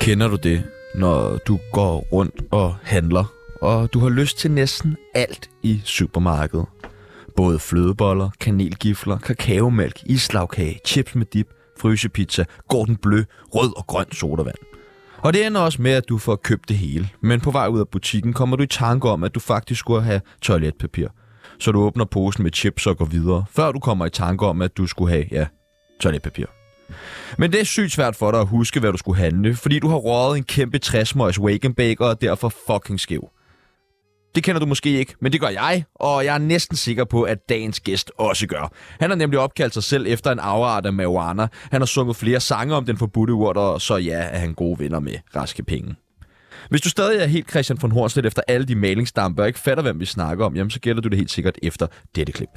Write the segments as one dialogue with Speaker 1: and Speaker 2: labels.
Speaker 1: kender du det, når du går rundt og handler, og du har lyst til næsten alt i supermarkedet. Både flødeboller, kanelgifler, kakaomælk, islagkage, chips med dip, frysepizza, gordon blø, rød og grøn sodavand. Og det ender også med, at du får købt det hele. Men på vej ud af butikken kommer du i tanke om, at du faktisk skulle have toiletpapir. Så du åbner posen med chips og går videre, før du kommer i tanke om, at du skulle have, ja, toiletpapir. Men det er sygt svært for dig at huske, hvad du skulle handle, fordi du har røget en kæmpe 60-møjs wake baker og er derfor fucking skæv. Det kender du måske ikke, men det gør jeg, og jeg er næsten sikker på, at dagens gæst også gør. Han har nemlig opkaldt sig selv efter en afart af marijuana. Han har sunget flere sange om den forbudte urt, og så ja, er han gode venner med raske penge. Hvis du stadig er helt Christian von Hornstedt efter alle de malingsdamper og ikke fatter, hvem vi snakker om, jamen så gælder du det helt sikkert efter dette klip.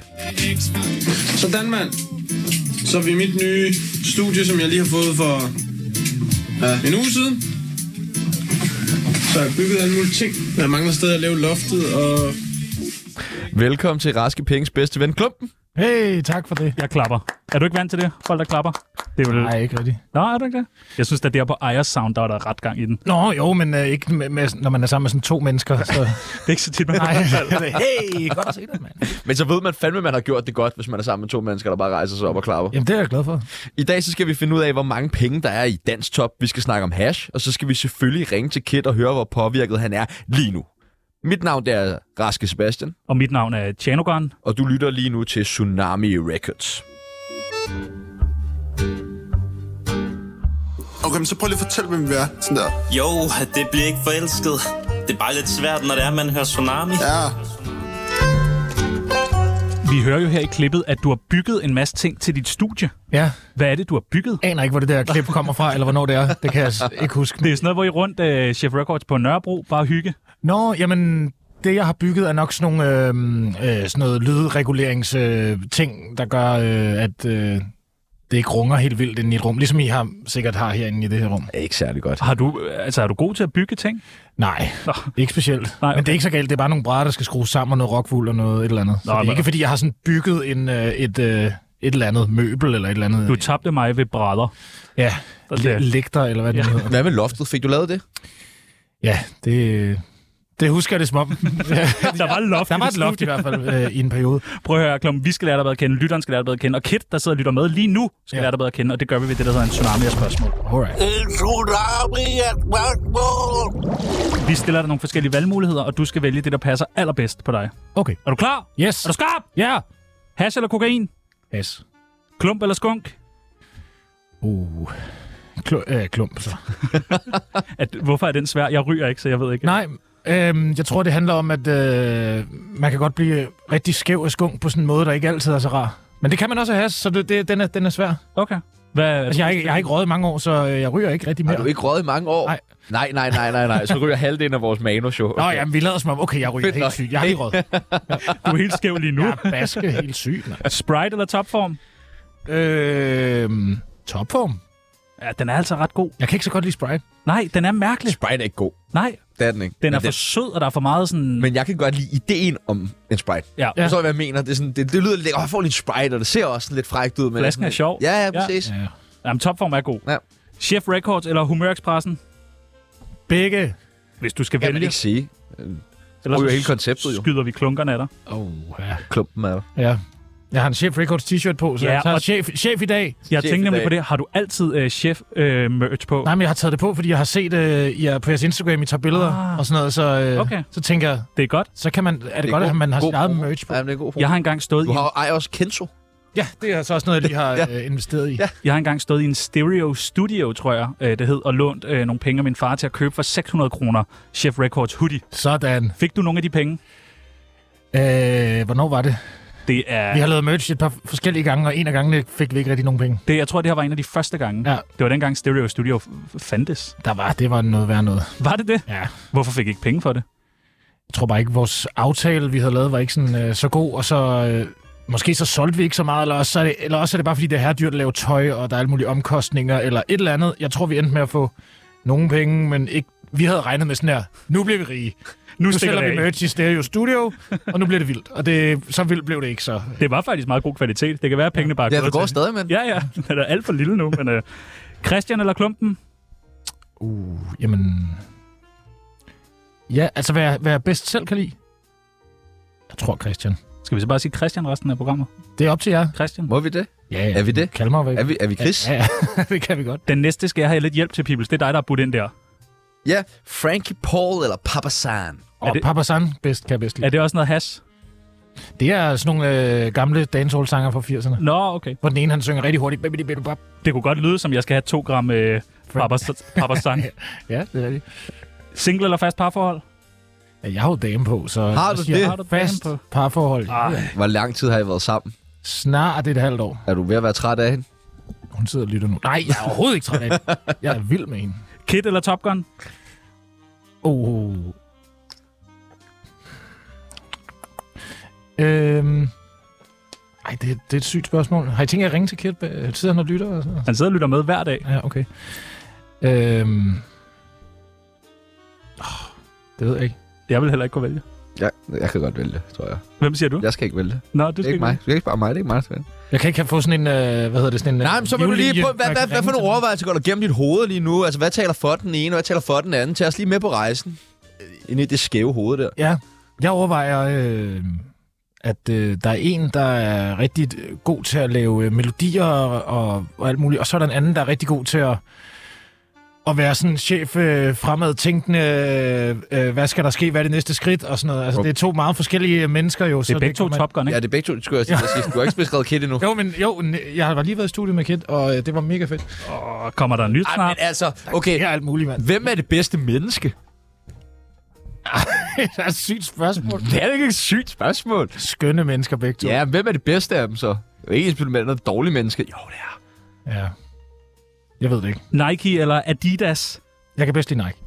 Speaker 2: Sådan, mand. Så er vi i mit nye studie, som jeg lige har fået for ja. en uge siden. Så har jeg bygget alle mulige ting. Jeg mangler stadig at lave loftet, og
Speaker 1: Velkommen til Raske Penges bedste ven, Klumpen.
Speaker 3: Hey, tak for det.
Speaker 4: Jeg klapper. Er du ikke vant til det, folk der klapper? Det er vel...
Speaker 3: Nej, ikke rigtigt.
Speaker 4: Nå, er du ikke det? Jeg synes, at det er på Ayers Sound, der er der ret gang i den.
Speaker 3: Nå, jo, men øh, ikke med, med, når man er sammen med sådan to mennesker. Så.
Speaker 4: Det er ikke så tit, man
Speaker 3: Nej, hey, godt at se dig, mand.
Speaker 1: Men så ved man fandme, at man har gjort det godt, hvis man er sammen med to mennesker, der bare rejser sig op og klapper.
Speaker 3: Jamen, det er jeg glad for.
Speaker 1: I dag så skal vi finde ud af, hvor mange penge der er i dansk top. Vi skal snakke om hash, og så skal vi selvfølgelig ringe til Kit og høre, hvor påvirket han er lige nu. Mit navn det er Raske Sebastian,
Speaker 4: Og mit navn er Tjanogan.
Speaker 1: og du lytter lige nu til Tsunami Records.
Speaker 5: Okay, men så prøv lige at fortælle, hvem vi er. Sådan der.
Speaker 6: Jo, det bliver ikke forelsket. Det er bare lidt svært, når det er, man hører tsunami.
Speaker 5: Ja,
Speaker 4: Vi hører jo her i klippet, at du har bygget en masse ting til dit studie.
Speaker 3: Ja,
Speaker 4: Hvad er det, du har bygget?
Speaker 3: aner ikke, hvor det der klip kommer fra, eller hvornår det er. Det kan jeg s- ikke huske.
Speaker 4: Det er sådan noget, hvor I er rundt øh, Chef Records på Nørrebro, bare hygge.
Speaker 3: Nå, jamen, det jeg har bygget er nok sådan nogle øh, øh, sådan noget lydreguleringsting, øh, ting, der gør, øh, at øh, det ikke runger helt vildt inde i et rum, ligesom I har, sikkert har herinde i det her rum.
Speaker 1: Er ikke særlig godt.
Speaker 4: Har du, øh, altså, er du god til at bygge ting?
Speaker 3: Nej,
Speaker 4: Nå.
Speaker 3: ikke specielt.
Speaker 4: Nej,
Speaker 3: Nej,
Speaker 4: okay.
Speaker 3: Men det er ikke så galt. Det er bare nogle brædder, der skal skrues sammen, og noget rockwool og noget et eller andet.
Speaker 4: Nå,
Speaker 3: så det er
Speaker 4: men-
Speaker 3: ikke, fordi jeg har sådan bygget en, øh, et, øh, et eller andet møbel eller et eller andet.
Speaker 4: Du tabte mig ved brædder.
Speaker 3: ja,
Speaker 4: Der
Speaker 3: le-
Speaker 4: ser-
Speaker 3: lægter eller hvad det
Speaker 4: Ja.
Speaker 3: ja. hedder.
Speaker 1: Hvad med loftet? Fik du lavet det?
Speaker 3: Ja, det, øh, det husker jeg det som om.
Speaker 4: Der var et loft.
Speaker 3: Der
Speaker 4: i
Speaker 3: var
Speaker 4: dit
Speaker 3: et loft i
Speaker 4: studie.
Speaker 3: hvert fald øh, i en periode.
Speaker 4: Prøv at høre, Klum, vi skal lære dig bedre at kende, lytteren skal lære dig bedre at kende, og Kit, der sidder og lytter med lige nu, skal ja.
Speaker 3: Ja.
Speaker 4: lære dig bedre at kende, og det gør vi ved det, der hedder en tsunami af spørgsmål.
Speaker 3: Alright.
Speaker 4: Vi stiller dig nogle forskellige valgmuligheder, og du skal vælge det, der passer allerbedst på dig.
Speaker 3: Okay.
Speaker 4: Er du klar?
Speaker 3: Yes.
Speaker 4: Er du skarp?
Speaker 3: Ja.
Speaker 4: Hash eller kokain?
Speaker 3: Yes.
Speaker 4: Klump eller skunk?
Speaker 3: Uh. Klu- øh, klump, så.
Speaker 4: At, hvorfor er den svær? Jeg ryger ikke, så jeg ved ikke.
Speaker 3: Nej, øhm, jeg tror, det handler om, at øh, man kan godt blive rigtig skæv og skunk på sådan en måde, der ikke altid er så rar. Men det kan man også have, så det, det, den, er, den er svær.
Speaker 4: Okay. Hvad,
Speaker 3: Altså, jeg har ikke, jeg har ikke røget i mange år, så øh, jeg ryger ikke rigtig mere.
Speaker 1: Har du ikke røget i mange år?
Speaker 3: Nej.
Speaker 1: Nej, nej, nej, nej, nej. Så ryger halvdelen af vores manushow.
Speaker 3: Nå, jamen, vi lader som om, okay, jeg ryger
Speaker 1: Fedt nok.
Speaker 3: helt sygt. Jeg har ikke røget.
Speaker 4: du er helt skæv lige nu.
Speaker 3: Jeg er baske helt syg, mand.
Speaker 4: Sprite eller topform?
Speaker 3: Øhm, topform.
Speaker 4: Ja, den er altså ret god.
Speaker 3: Jeg kan ikke så godt lide Sprite.
Speaker 4: Nej, den er mærkelig.
Speaker 1: Sprite er ikke god.
Speaker 4: Nej,
Speaker 1: Det er den ikke.
Speaker 4: den
Speaker 1: Men
Speaker 4: er for sød, og der er for meget sådan...
Speaker 1: Men jeg kan godt lide ideen om en Sprite.
Speaker 4: ja.
Speaker 1: Ja.
Speaker 3: Ja.
Speaker 1: Forstår I, hvad jeg mener? Det, er sådan, det, det lyder lidt, åh, jeg får lige en Sprite, og det ser også sådan lidt frækt ud. Men
Speaker 4: Flasken er sjov.
Speaker 1: Ja, ja,
Speaker 4: Ja.
Speaker 1: præcis. Ja.
Speaker 3: Ja.
Speaker 4: Jamen, topform er god.
Speaker 1: Ja.
Speaker 4: Chef Records eller Humørexpressen?
Speaker 3: Begge.
Speaker 4: Hvis du skal
Speaker 1: Kan man
Speaker 4: vælge,
Speaker 1: ikke sige.
Speaker 4: ellers
Speaker 1: ryger
Speaker 4: så
Speaker 1: hele konceptet jo.
Speaker 4: skyder vi klunkerne af dig.
Speaker 3: Oh, ja.
Speaker 1: Klumpen er der.
Speaker 3: ja. Jeg har en Chef Records t-shirt på, så
Speaker 4: Ja,
Speaker 3: ja, jeg tager
Speaker 4: og-
Speaker 3: chef, chef i dag.
Speaker 4: Jeg
Speaker 1: Chef i
Speaker 4: tænkte nemlig
Speaker 1: dag.
Speaker 4: på det. Har du altid øh, chef-merch på?
Speaker 3: Nej, men jeg har taget det på, fordi jeg har set øh, I er på jeres Instagram, I tager billeder
Speaker 4: Ah.
Speaker 3: ah. og sådan noget, så, øh,
Speaker 4: Okay.
Speaker 3: så tænker jeg,
Speaker 4: Det er godt.
Speaker 3: så kan man, er det,
Speaker 1: Det
Speaker 3: det
Speaker 1: er
Speaker 3: godt,
Speaker 1: god-
Speaker 3: at man har
Speaker 1: god
Speaker 3: sit eget
Speaker 1: promo.
Speaker 3: merch på.
Speaker 1: Ja, men det er god.
Speaker 4: Jeg har engang stået i
Speaker 1: Du
Speaker 4: en
Speaker 1: har ej også Kenzo.
Speaker 3: Ja, det er så også noget, jeg lige har
Speaker 1: Ja.
Speaker 3: øh, investeret i.
Speaker 1: Ja.
Speaker 3: Ja.
Speaker 4: Jeg har engang stået i en stereo studio, tror jeg, øh, det hed, og lånt øh, nogle penge af min far til at købe for 600 kroner Chef Records hoodie.
Speaker 3: Sådan.
Speaker 4: Fik du nogle af de penge?
Speaker 3: Øh, hvornår var det?
Speaker 4: Det
Speaker 3: Vi
Speaker 4: er,
Speaker 3: har lavet merch et par forskellige gange, og en af gangene fik vi ikke rigtig nogen penge.
Speaker 4: det, jeg tror, det her var en af de første gange.
Speaker 3: Ja.
Speaker 4: Det var dengang Stereo Studio f- fandtes.
Speaker 3: Der var, det var noget værd noget.
Speaker 4: Var det det?
Speaker 3: Ja.
Speaker 4: Hvorfor fik I ikke penge for det?
Speaker 3: Jeg tror bare ikke, vores aftale, vi havde lavet, var ikke sådan, øh, så god, og så... Øh, måske så solgte vi ikke så meget, eller også, så er det, eller også er det bare, fordi det er her dyrt at lave tøj, og der er alle mulige omkostninger, eller et eller andet. Jeg tror, vi endte med at få nogle penge, men ikke... Vi havde regnet med sådan her, nu bliver vi rige.
Speaker 4: Nu,
Speaker 3: Nu
Speaker 4: stikker
Speaker 3: sælger vi
Speaker 4: det af.
Speaker 3: merch i Stereo Studio, og nu bliver det vildt. Og det, så vildt blev det ikke så.
Speaker 4: Det var faktisk meget god kvalitet. Det kan være, at pengene bare
Speaker 1: Ja,
Speaker 4: gået
Speaker 1: det går
Speaker 4: til.
Speaker 1: stadig, mand.
Speaker 4: Ja, ja. Den er alt for lille nu, men... Øh, Christian eller Klumpen?
Speaker 3: Uh, jamen... Ja, altså, hvad jeg, hvad jeg bedst selv kan lide? Jeg tror Christian.
Speaker 4: Skal vi så bare sige Christian resten af programmet?
Speaker 3: Det er op til jer.
Speaker 4: Christian?
Speaker 1: Må vi det?
Speaker 3: Ja, ja.
Speaker 1: Er vi det?
Speaker 3: Kald mig, hvad I-
Speaker 1: Er vi, er vi Chris?
Speaker 3: Ja, ja, det kan vi godt.
Speaker 4: Den næste skal jeg have lidt hjælp til, Pibels. Det er dig, der har budt ind der.
Speaker 1: Ja, Frankie Paul eller Papa San.
Speaker 3: Og
Speaker 4: det-
Speaker 3: det... Papa San bedst, kan jeg bedst lide.
Speaker 4: Er det også noget has?
Speaker 3: Det... det er sådan nogle øh, gamle dancehall-sanger fra 80'erne.
Speaker 4: Nå, okay.
Speaker 3: Hvor den ene, han synger rigtig hurtigt. Bibbidi-bibbidi-bap.
Speaker 4: Det kunne godt lyde, som jeg skal have to gram øh, papasan.
Speaker 3: Ja, det er rigtigt.
Speaker 4: Single eller fast parforhold?
Speaker 3: Ja, Jeg har jo dame på, så...
Speaker 1: Har
Speaker 3: jeg
Speaker 1: du
Speaker 3: siger,
Speaker 1: det?
Speaker 3: Har du fast
Speaker 4: dame
Speaker 3: på? parforhold.
Speaker 4: Ej.
Speaker 1: Hvor lang tid har I været sammen?
Speaker 3: Snart et halvt år.
Speaker 1: Er du ved at være træt af hende?
Speaker 3: Hun sidder og lytter nu. Nej, jeg er overhovedet ikke træt af det. Jeg er vild med hende.
Speaker 4: Kid eller Top Gun?
Speaker 3: Oh. Øhm. Ej, det, det er et sygt spørgsmål. Har I tænkt jer at ringe til Kjeld? øh, Sidder han og lytter? Og så?
Speaker 4: Han sidder og lytter med hver dag.
Speaker 3: Ja, okay. Øhm. Oh, det ved jeg ikke.
Speaker 4: Jeg vil heller ikke kunne vælge.
Speaker 1: Ja, jeg kan godt vælge, tror jeg.
Speaker 4: Hvem siger du?
Speaker 1: Jeg skal ikke vælge. Det
Speaker 4: Nå, du
Speaker 1: er
Speaker 4: skal
Speaker 1: ikke mig. Du skal ikke bare mig. Det er ikke mig, der skal vælge.
Speaker 3: Jeg kan ikke have få sådan en, øh, hvad hedder det, sådan en... øh,
Speaker 1: Nej, men så vil du lige
Speaker 3: julelinje,
Speaker 1: prøve, hvad,
Speaker 3: hvor jeg
Speaker 1: hvad,
Speaker 3: kan
Speaker 1: hvad for
Speaker 3: ringe
Speaker 1: nogle
Speaker 3: til
Speaker 1: overvejelser går der gennem dit hoved lige nu? Altså, hvad taler for den ene, og hvad taler for den anden? Tag os lige med på rejsen. Øh, Ind i det skæve hoved der.
Speaker 3: Ja, jeg overvejer, øh, at øh, der er en, der er rigtig øh, god til at lave øh, melodier og, og alt muligt, og så er der en anden, der er rigtig god til at, at være sådan chef øh, fremad tænkende, øh, øh, hvad skal der ske, hvad er det næste skridt og sådan noget. Altså,
Speaker 1: Okay.
Speaker 3: det er to meget forskellige mennesker jo.
Speaker 4: Det er begge to Top Gun,
Speaker 1: Ja,
Speaker 4: ikke?
Speaker 1: det er begge to, skulle jeg også lige til at sige. Du har ikke beskrevet Kitty nu.
Speaker 3: Jo, men jo, n- jeg har lige været i studiet med Kit, og øh, det var mega fedt.
Speaker 4: Åh, kommer der nyt
Speaker 1: Ej,
Speaker 4: snart?
Speaker 1: men altså, okay.
Speaker 3: Det er alt muligt, mand.
Speaker 1: Hvem er det bedste menneske?
Speaker 3: det er et sygt spørgsmål.
Speaker 1: Det er ikke et sygt spørgsmål.
Speaker 3: Skønne mennesker begge to.
Speaker 1: Ja, hvem er det bedste af dem så? Det er ikke ens med noget dårligt menneske. Jo, det er.
Speaker 3: ja. Jeg ved det ikke.
Speaker 4: Nike eller Adidas?
Speaker 3: Jeg kan bedst lide Nike.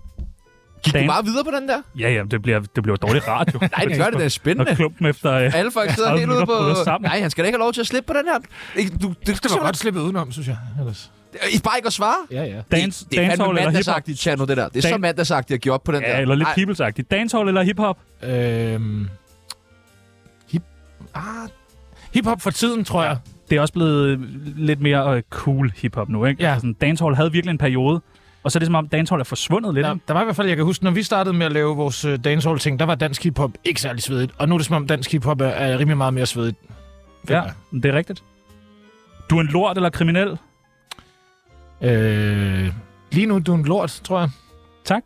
Speaker 1: Gik
Speaker 4: Dan.
Speaker 1: du meget videre på den der?
Speaker 4: Ja, ja, det bliver, det bliver dårlig radio.
Speaker 1: Nej, det gør det, det er
Speaker 4: Og
Speaker 1: spændende.
Speaker 4: klumpen efter... Øh,
Speaker 1: Alle folk sidder
Speaker 4: Ja,
Speaker 1: helt
Speaker 4: vi
Speaker 1: ude
Speaker 4: kan
Speaker 1: på...
Speaker 4: bryde os sammen.
Speaker 1: Nej, han skal da ikke have lov til at slippe på den her. Ikke, du, det, Øh,
Speaker 3: Det var godt slippet udenom, synes jeg. Ellers.
Speaker 1: I bare ikke at svare.
Speaker 3: Ja, ja.
Speaker 4: dance,
Speaker 1: det, det er fandme
Speaker 4: dancehall eller hiphop?
Speaker 1: mandagsagtigt, Tjerno, det der. Det er så
Speaker 4: Dan-
Speaker 1: mandagsagtigt at give op på den der.
Speaker 4: Ja, eller lidt
Speaker 1: Ej,
Speaker 4: peoples-agtigt. Dancehall eller hiphop?
Speaker 3: Øhm, hip, ah, hip-hop for tiden, tror jeg.
Speaker 4: det er også blevet øh, lidt mere øh, cool hiphop nu, ikke?
Speaker 3: Ja.
Speaker 4: Altså, sådan, dancehall havde virkelig en periode, og så er det som om, dancehall er forsvundet lidt.
Speaker 3: Der,
Speaker 4: ikke?
Speaker 3: der var i hvert fald, jeg kan huske, når vi startede med at lave vores øh, dancehall-ting, der var dansk hip-hop ikke særlig svedigt. Og nu er det som om, dansk hip-hop er, er rimelig meget mere svedigt.
Speaker 4: Ja,
Speaker 3: Finder
Speaker 4: men det er rigtigt. Du er en lort eller kriminel?
Speaker 3: jeg. Øh, lige nu, du er en lort, tror jeg.
Speaker 4: Tak.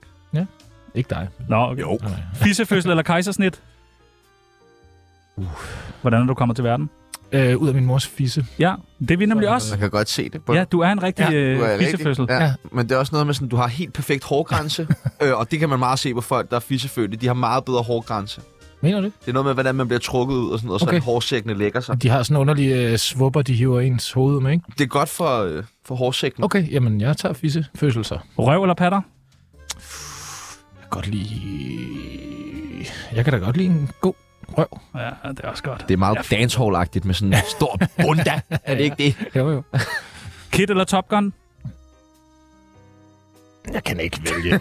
Speaker 3: Ikke dig.
Speaker 4: Nå, okay.
Speaker 1: Jo.
Speaker 3: Nej.
Speaker 4: Fissefødsel eller kejsersnit? Uh. Hvordan er du kommet til verden?
Speaker 3: Øh, ud af min mors fisse.
Speaker 4: Ja, det er vi nemlig også.
Speaker 1: Man kan godt se det. På
Speaker 4: Ja, du er en rigtig
Speaker 3: Ja,
Speaker 4: ja,
Speaker 1: Du er
Speaker 4: øh,
Speaker 1: rigtig-
Speaker 4: fissefødsel. Ja.
Speaker 1: Ja,
Speaker 3: Ja.
Speaker 1: ja. Men det er også noget med, sådan, du har helt perfekt hårgrænse, øh, og det kan man meget se på folk, der er fissefødte. De har meget bedre hårgrænse.
Speaker 3: Mener du det?
Speaker 1: Det er noget med, hvordan man bliver trukket ud, og sådan noget, og så
Speaker 3: Okay.
Speaker 1: okay. hårsækkene lægger sig.
Speaker 3: De har sådan underlige øh, svupper, de hiver ens hoved ud med, ikke?
Speaker 1: Det er godt for, øh, for
Speaker 4: Mm.
Speaker 1: hårsækken. Okay.
Speaker 3: Okay, jamen jeg tager fisse fødsel så.
Speaker 4: Røv eller patter?
Speaker 3: Jeg kan godt lide... Jeg kan da godt lide en god røv.
Speaker 4: Ja, det er også godt.
Speaker 1: Det er meget dancehall-agtigt med sådan en stor bunda. er det ikke det?
Speaker 3: Jo, jo.
Speaker 4: Kid eller Top Gun?
Speaker 3: Jeg kan ikke vælge.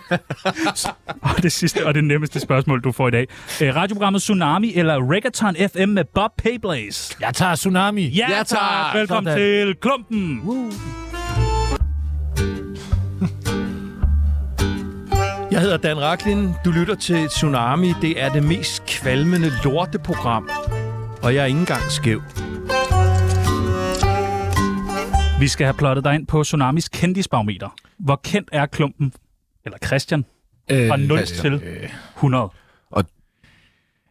Speaker 4: Og det sidste og det nemmeste spørgsmål, du får i dag. Øh, radioprogrammet Tsunami eller Reggaeton FM med Bob Payblaze?
Speaker 3: jeg tager Tsunami.
Speaker 4: Ja,
Speaker 1: Ja,
Speaker 4: ja
Speaker 1: tak.
Speaker 4: tak! Velkommen
Speaker 3: Sådan.
Speaker 4: til Klumpen!
Speaker 7: Jeg hedder Dan Raklin. Du lytter til Tsunami. Det er det mest kvalmende lorteprogram. Og jeg er ikke engang skæv.
Speaker 4: Vi skal have plottet dig ind på Tsunamis kendisbarometer. Hvor kendt er klumpen, eller Christian,
Speaker 3: Øh,
Speaker 4: fra 0
Speaker 1: Christian,
Speaker 4: til
Speaker 7: øh.
Speaker 4: 100?
Speaker 1: og-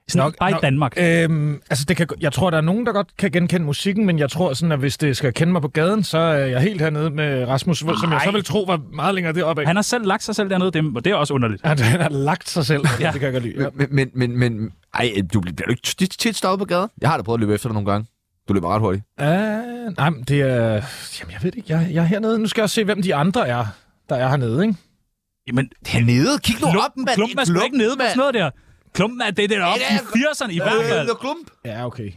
Speaker 4: Sådan,
Speaker 3: Nok-
Speaker 4: bare i
Speaker 3: nok-
Speaker 4: Danmark.
Speaker 7: Øh.
Speaker 3: Øhm, altså det kan, jeg tror, der er nogen, der godt kan genkende musikken, men jeg tror sådan, at hvis det skal kende mig på gaden, så er jeg helt hernede med Rasmus Vold, som jeg så vil tro var meget længere deroppe. af.
Speaker 4: Han har selv lagt sig selv dernede, det, og det er også underligt.
Speaker 3: Han, han har lagt sig selv, ja. det kan jeg godt lide. Ja.
Speaker 1: Men, men, men, men ej, øh, du bliver bliver du ikke tit, tit stoppet på gaden? Jeg har da prøvet at løbe efter dig nogle gange. Du løber ret hurtigt.
Speaker 3: Uh, nej, men det er... Jamen, jeg ved det ikke. Jeg, jeg er hernede. Nu skal jeg også se, hvem de andre er, der er hernede, ikke?
Speaker 4: Jamen,
Speaker 1: Hernede, kig nu op,
Speaker 4: klumpen,
Speaker 1: mand.
Speaker 4: klumpen er sgu ikke nede på sådan noget der. Klumpen er det der op
Speaker 1: det
Speaker 4: i
Speaker 1: er-
Speaker 4: 80'erne i hvert fald.
Speaker 1: Øh, klump.
Speaker 3: Ja, okay.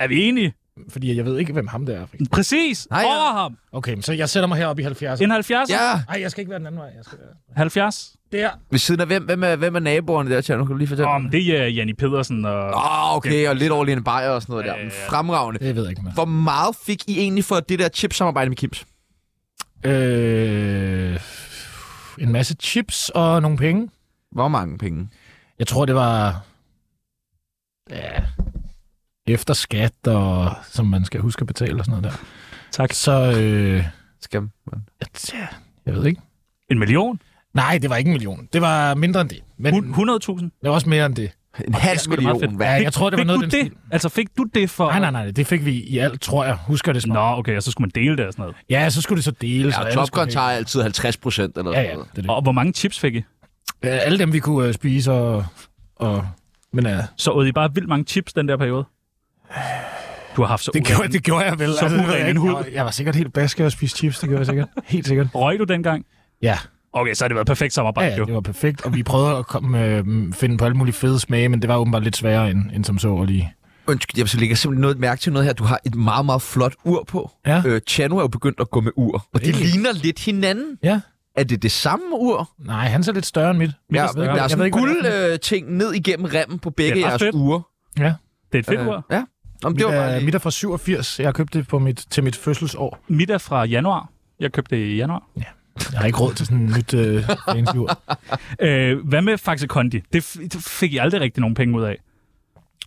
Speaker 4: Er vi enige?
Speaker 3: Fordi jeg ved ikke, hvem ham der er. for eksempel.
Speaker 4: Præcis.
Speaker 1: Nej, ja.
Speaker 4: Over ham.
Speaker 3: Okay, men så jeg sætter mig heroppe i 70'erne.
Speaker 4: En 70?
Speaker 1: Ja.
Speaker 3: Nej, jeg skal ikke være den anden vej. Jeg skal være
Speaker 4: 70?
Speaker 3: der.
Speaker 1: Ved siden af hvem, hvem er, hvem er naboerne der, Tjerno? Kan du lige fortælle?
Speaker 4: Om det er Janni Pedersen og...
Speaker 1: Åh, oh, okay, og lidt over en bajer og sådan noget der. Men Fremragende.
Speaker 3: Det ved jeg ikke, med.
Speaker 1: Hvor meget fik I egentlig for det der chipsamarbejde med Kims?
Speaker 3: Øh, en masse chips og nogle penge.
Speaker 1: Hvor mange penge?
Speaker 3: Jeg tror, det var... Ja, efter skat, og som man skal huske at betale og sådan noget der.
Speaker 4: Tak.
Speaker 3: Så, øh,
Speaker 1: Skal man?
Speaker 3: ja, jeg ved ikke.
Speaker 4: En million?
Speaker 3: Nej, det var ikke en million. Det var mindre end det. Men
Speaker 4: Hun- 100.000?
Speaker 3: det var også mere end det.
Speaker 1: En halv
Speaker 4: sgu da meget
Speaker 1: million,
Speaker 4: fedt.
Speaker 1: hvad?
Speaker 3: Ja, jeg tror, det var
Speaker 4: Fik
Speaker 3: noget
Speaker 4: du
Speaker 3: den
Speaker 4: det?
Speaker 3: stil.
Speaker 4: Altså, fik du det for...
Speaker 3: Nej, nej, nej, det fik vi i alt, tror jeg. Husker det sådan.
Speaker 4: Nå, okay, og så skulle man dele det og sådan noget.
Speaker 3: Ja, så skulle det så deles. og
Speaker 1: Ja,
Speaker 3: alle
Speaker 1: Top
Speaker 3: skulle
Speaker 1: Gun tager altid 50 procent eller
Speaker 3: have-
Speaker 1: sådan
Speaker 3: Ja, ja,
Speaker 1: noget.
Speaker 3: det er det.
Speaker 4: Og hvor mange chips fik I?
Speaker 3: Øh, alle dem, vi kunne øh, spise og... og men øh,
Speaker 4: Så åd I bare vildt mange chips den der periode? Du har haft så
Speaker 3: det, gjorde, det gjorde jeg vel.
Speaker 4: Så
Speaker 3: det ved
Speaker 4: uren
Speaker 3: jeg,
Speaker 4: en
Speaker 3: ikke.
Speaker 4: hud.
Speaker 3: jeg, var, jeg var sikkert helt baske og spiste chips, det gjorde jeg sikkert. Helt sikkert.
Speaker 4: Røg du dengang?
Speaker 3: Ja,
Speaker 4: Okay, så har det været perfekt samarbejde,
Speaker 3: ja, ja
Speaker 4: jo.
Speaker 3: det var perfekt. Og vi prøvede at komme, øh, finde på alle mulige fede smage, men det var åbenbart lidt sværere end, end som så at lige...
Speaker 1: Undskyld, jeg lægger simpelthen noget mærke til noget her. Du har et meget, meget flot ur på.
Speaker 3: Ja.
Speaker 1: Øh, Chano er jo begyndt at gå med ur, og de
Speaker 3: Really?
Speaker 1: ligner lidt hinanden.
Speaker 3: Ja.
Speaker 1: Er det det samme ur?
Speaker 3: Nej, han er så lidt større end mit.
Speaker 1: Ja,
Speaker 3: Jeg ved ikke,
Speaker 1: der er
Speaker 3: jeg ved
Speaker 1: sådan
Speaker 3: ikke, hvad det er.
Speaker 1: guld-ting øh, ned igennem remmen på begge
Speaker 4: Det er ret
Speaker 1: jeres
Speaker 4: fedt.
Speaker 1: ure.
Speaker 4: Det er et fedt
Speaker 1: Øh,
Speaker 4: ur.
Speaker 1: Ja. Jamen, det
Speaker 3: Mit øh,
Speaker 1: var bare
Speaker 3: er,
Speaker 1: lige...
Speaker 3: mit er fra 87. Jeg har købt det på mit, til mit fødselsår.
Speaker 4: Mit er fra januar. Jeg købte det i januar.
Speaker 3: Jeg har ikke råd til sådan et nyt øh, fancy ur.
Speaker 4: Øh, hvad med Faxe Kondi? Det, f- det fik I aldrig rigtig nogen penge ud af.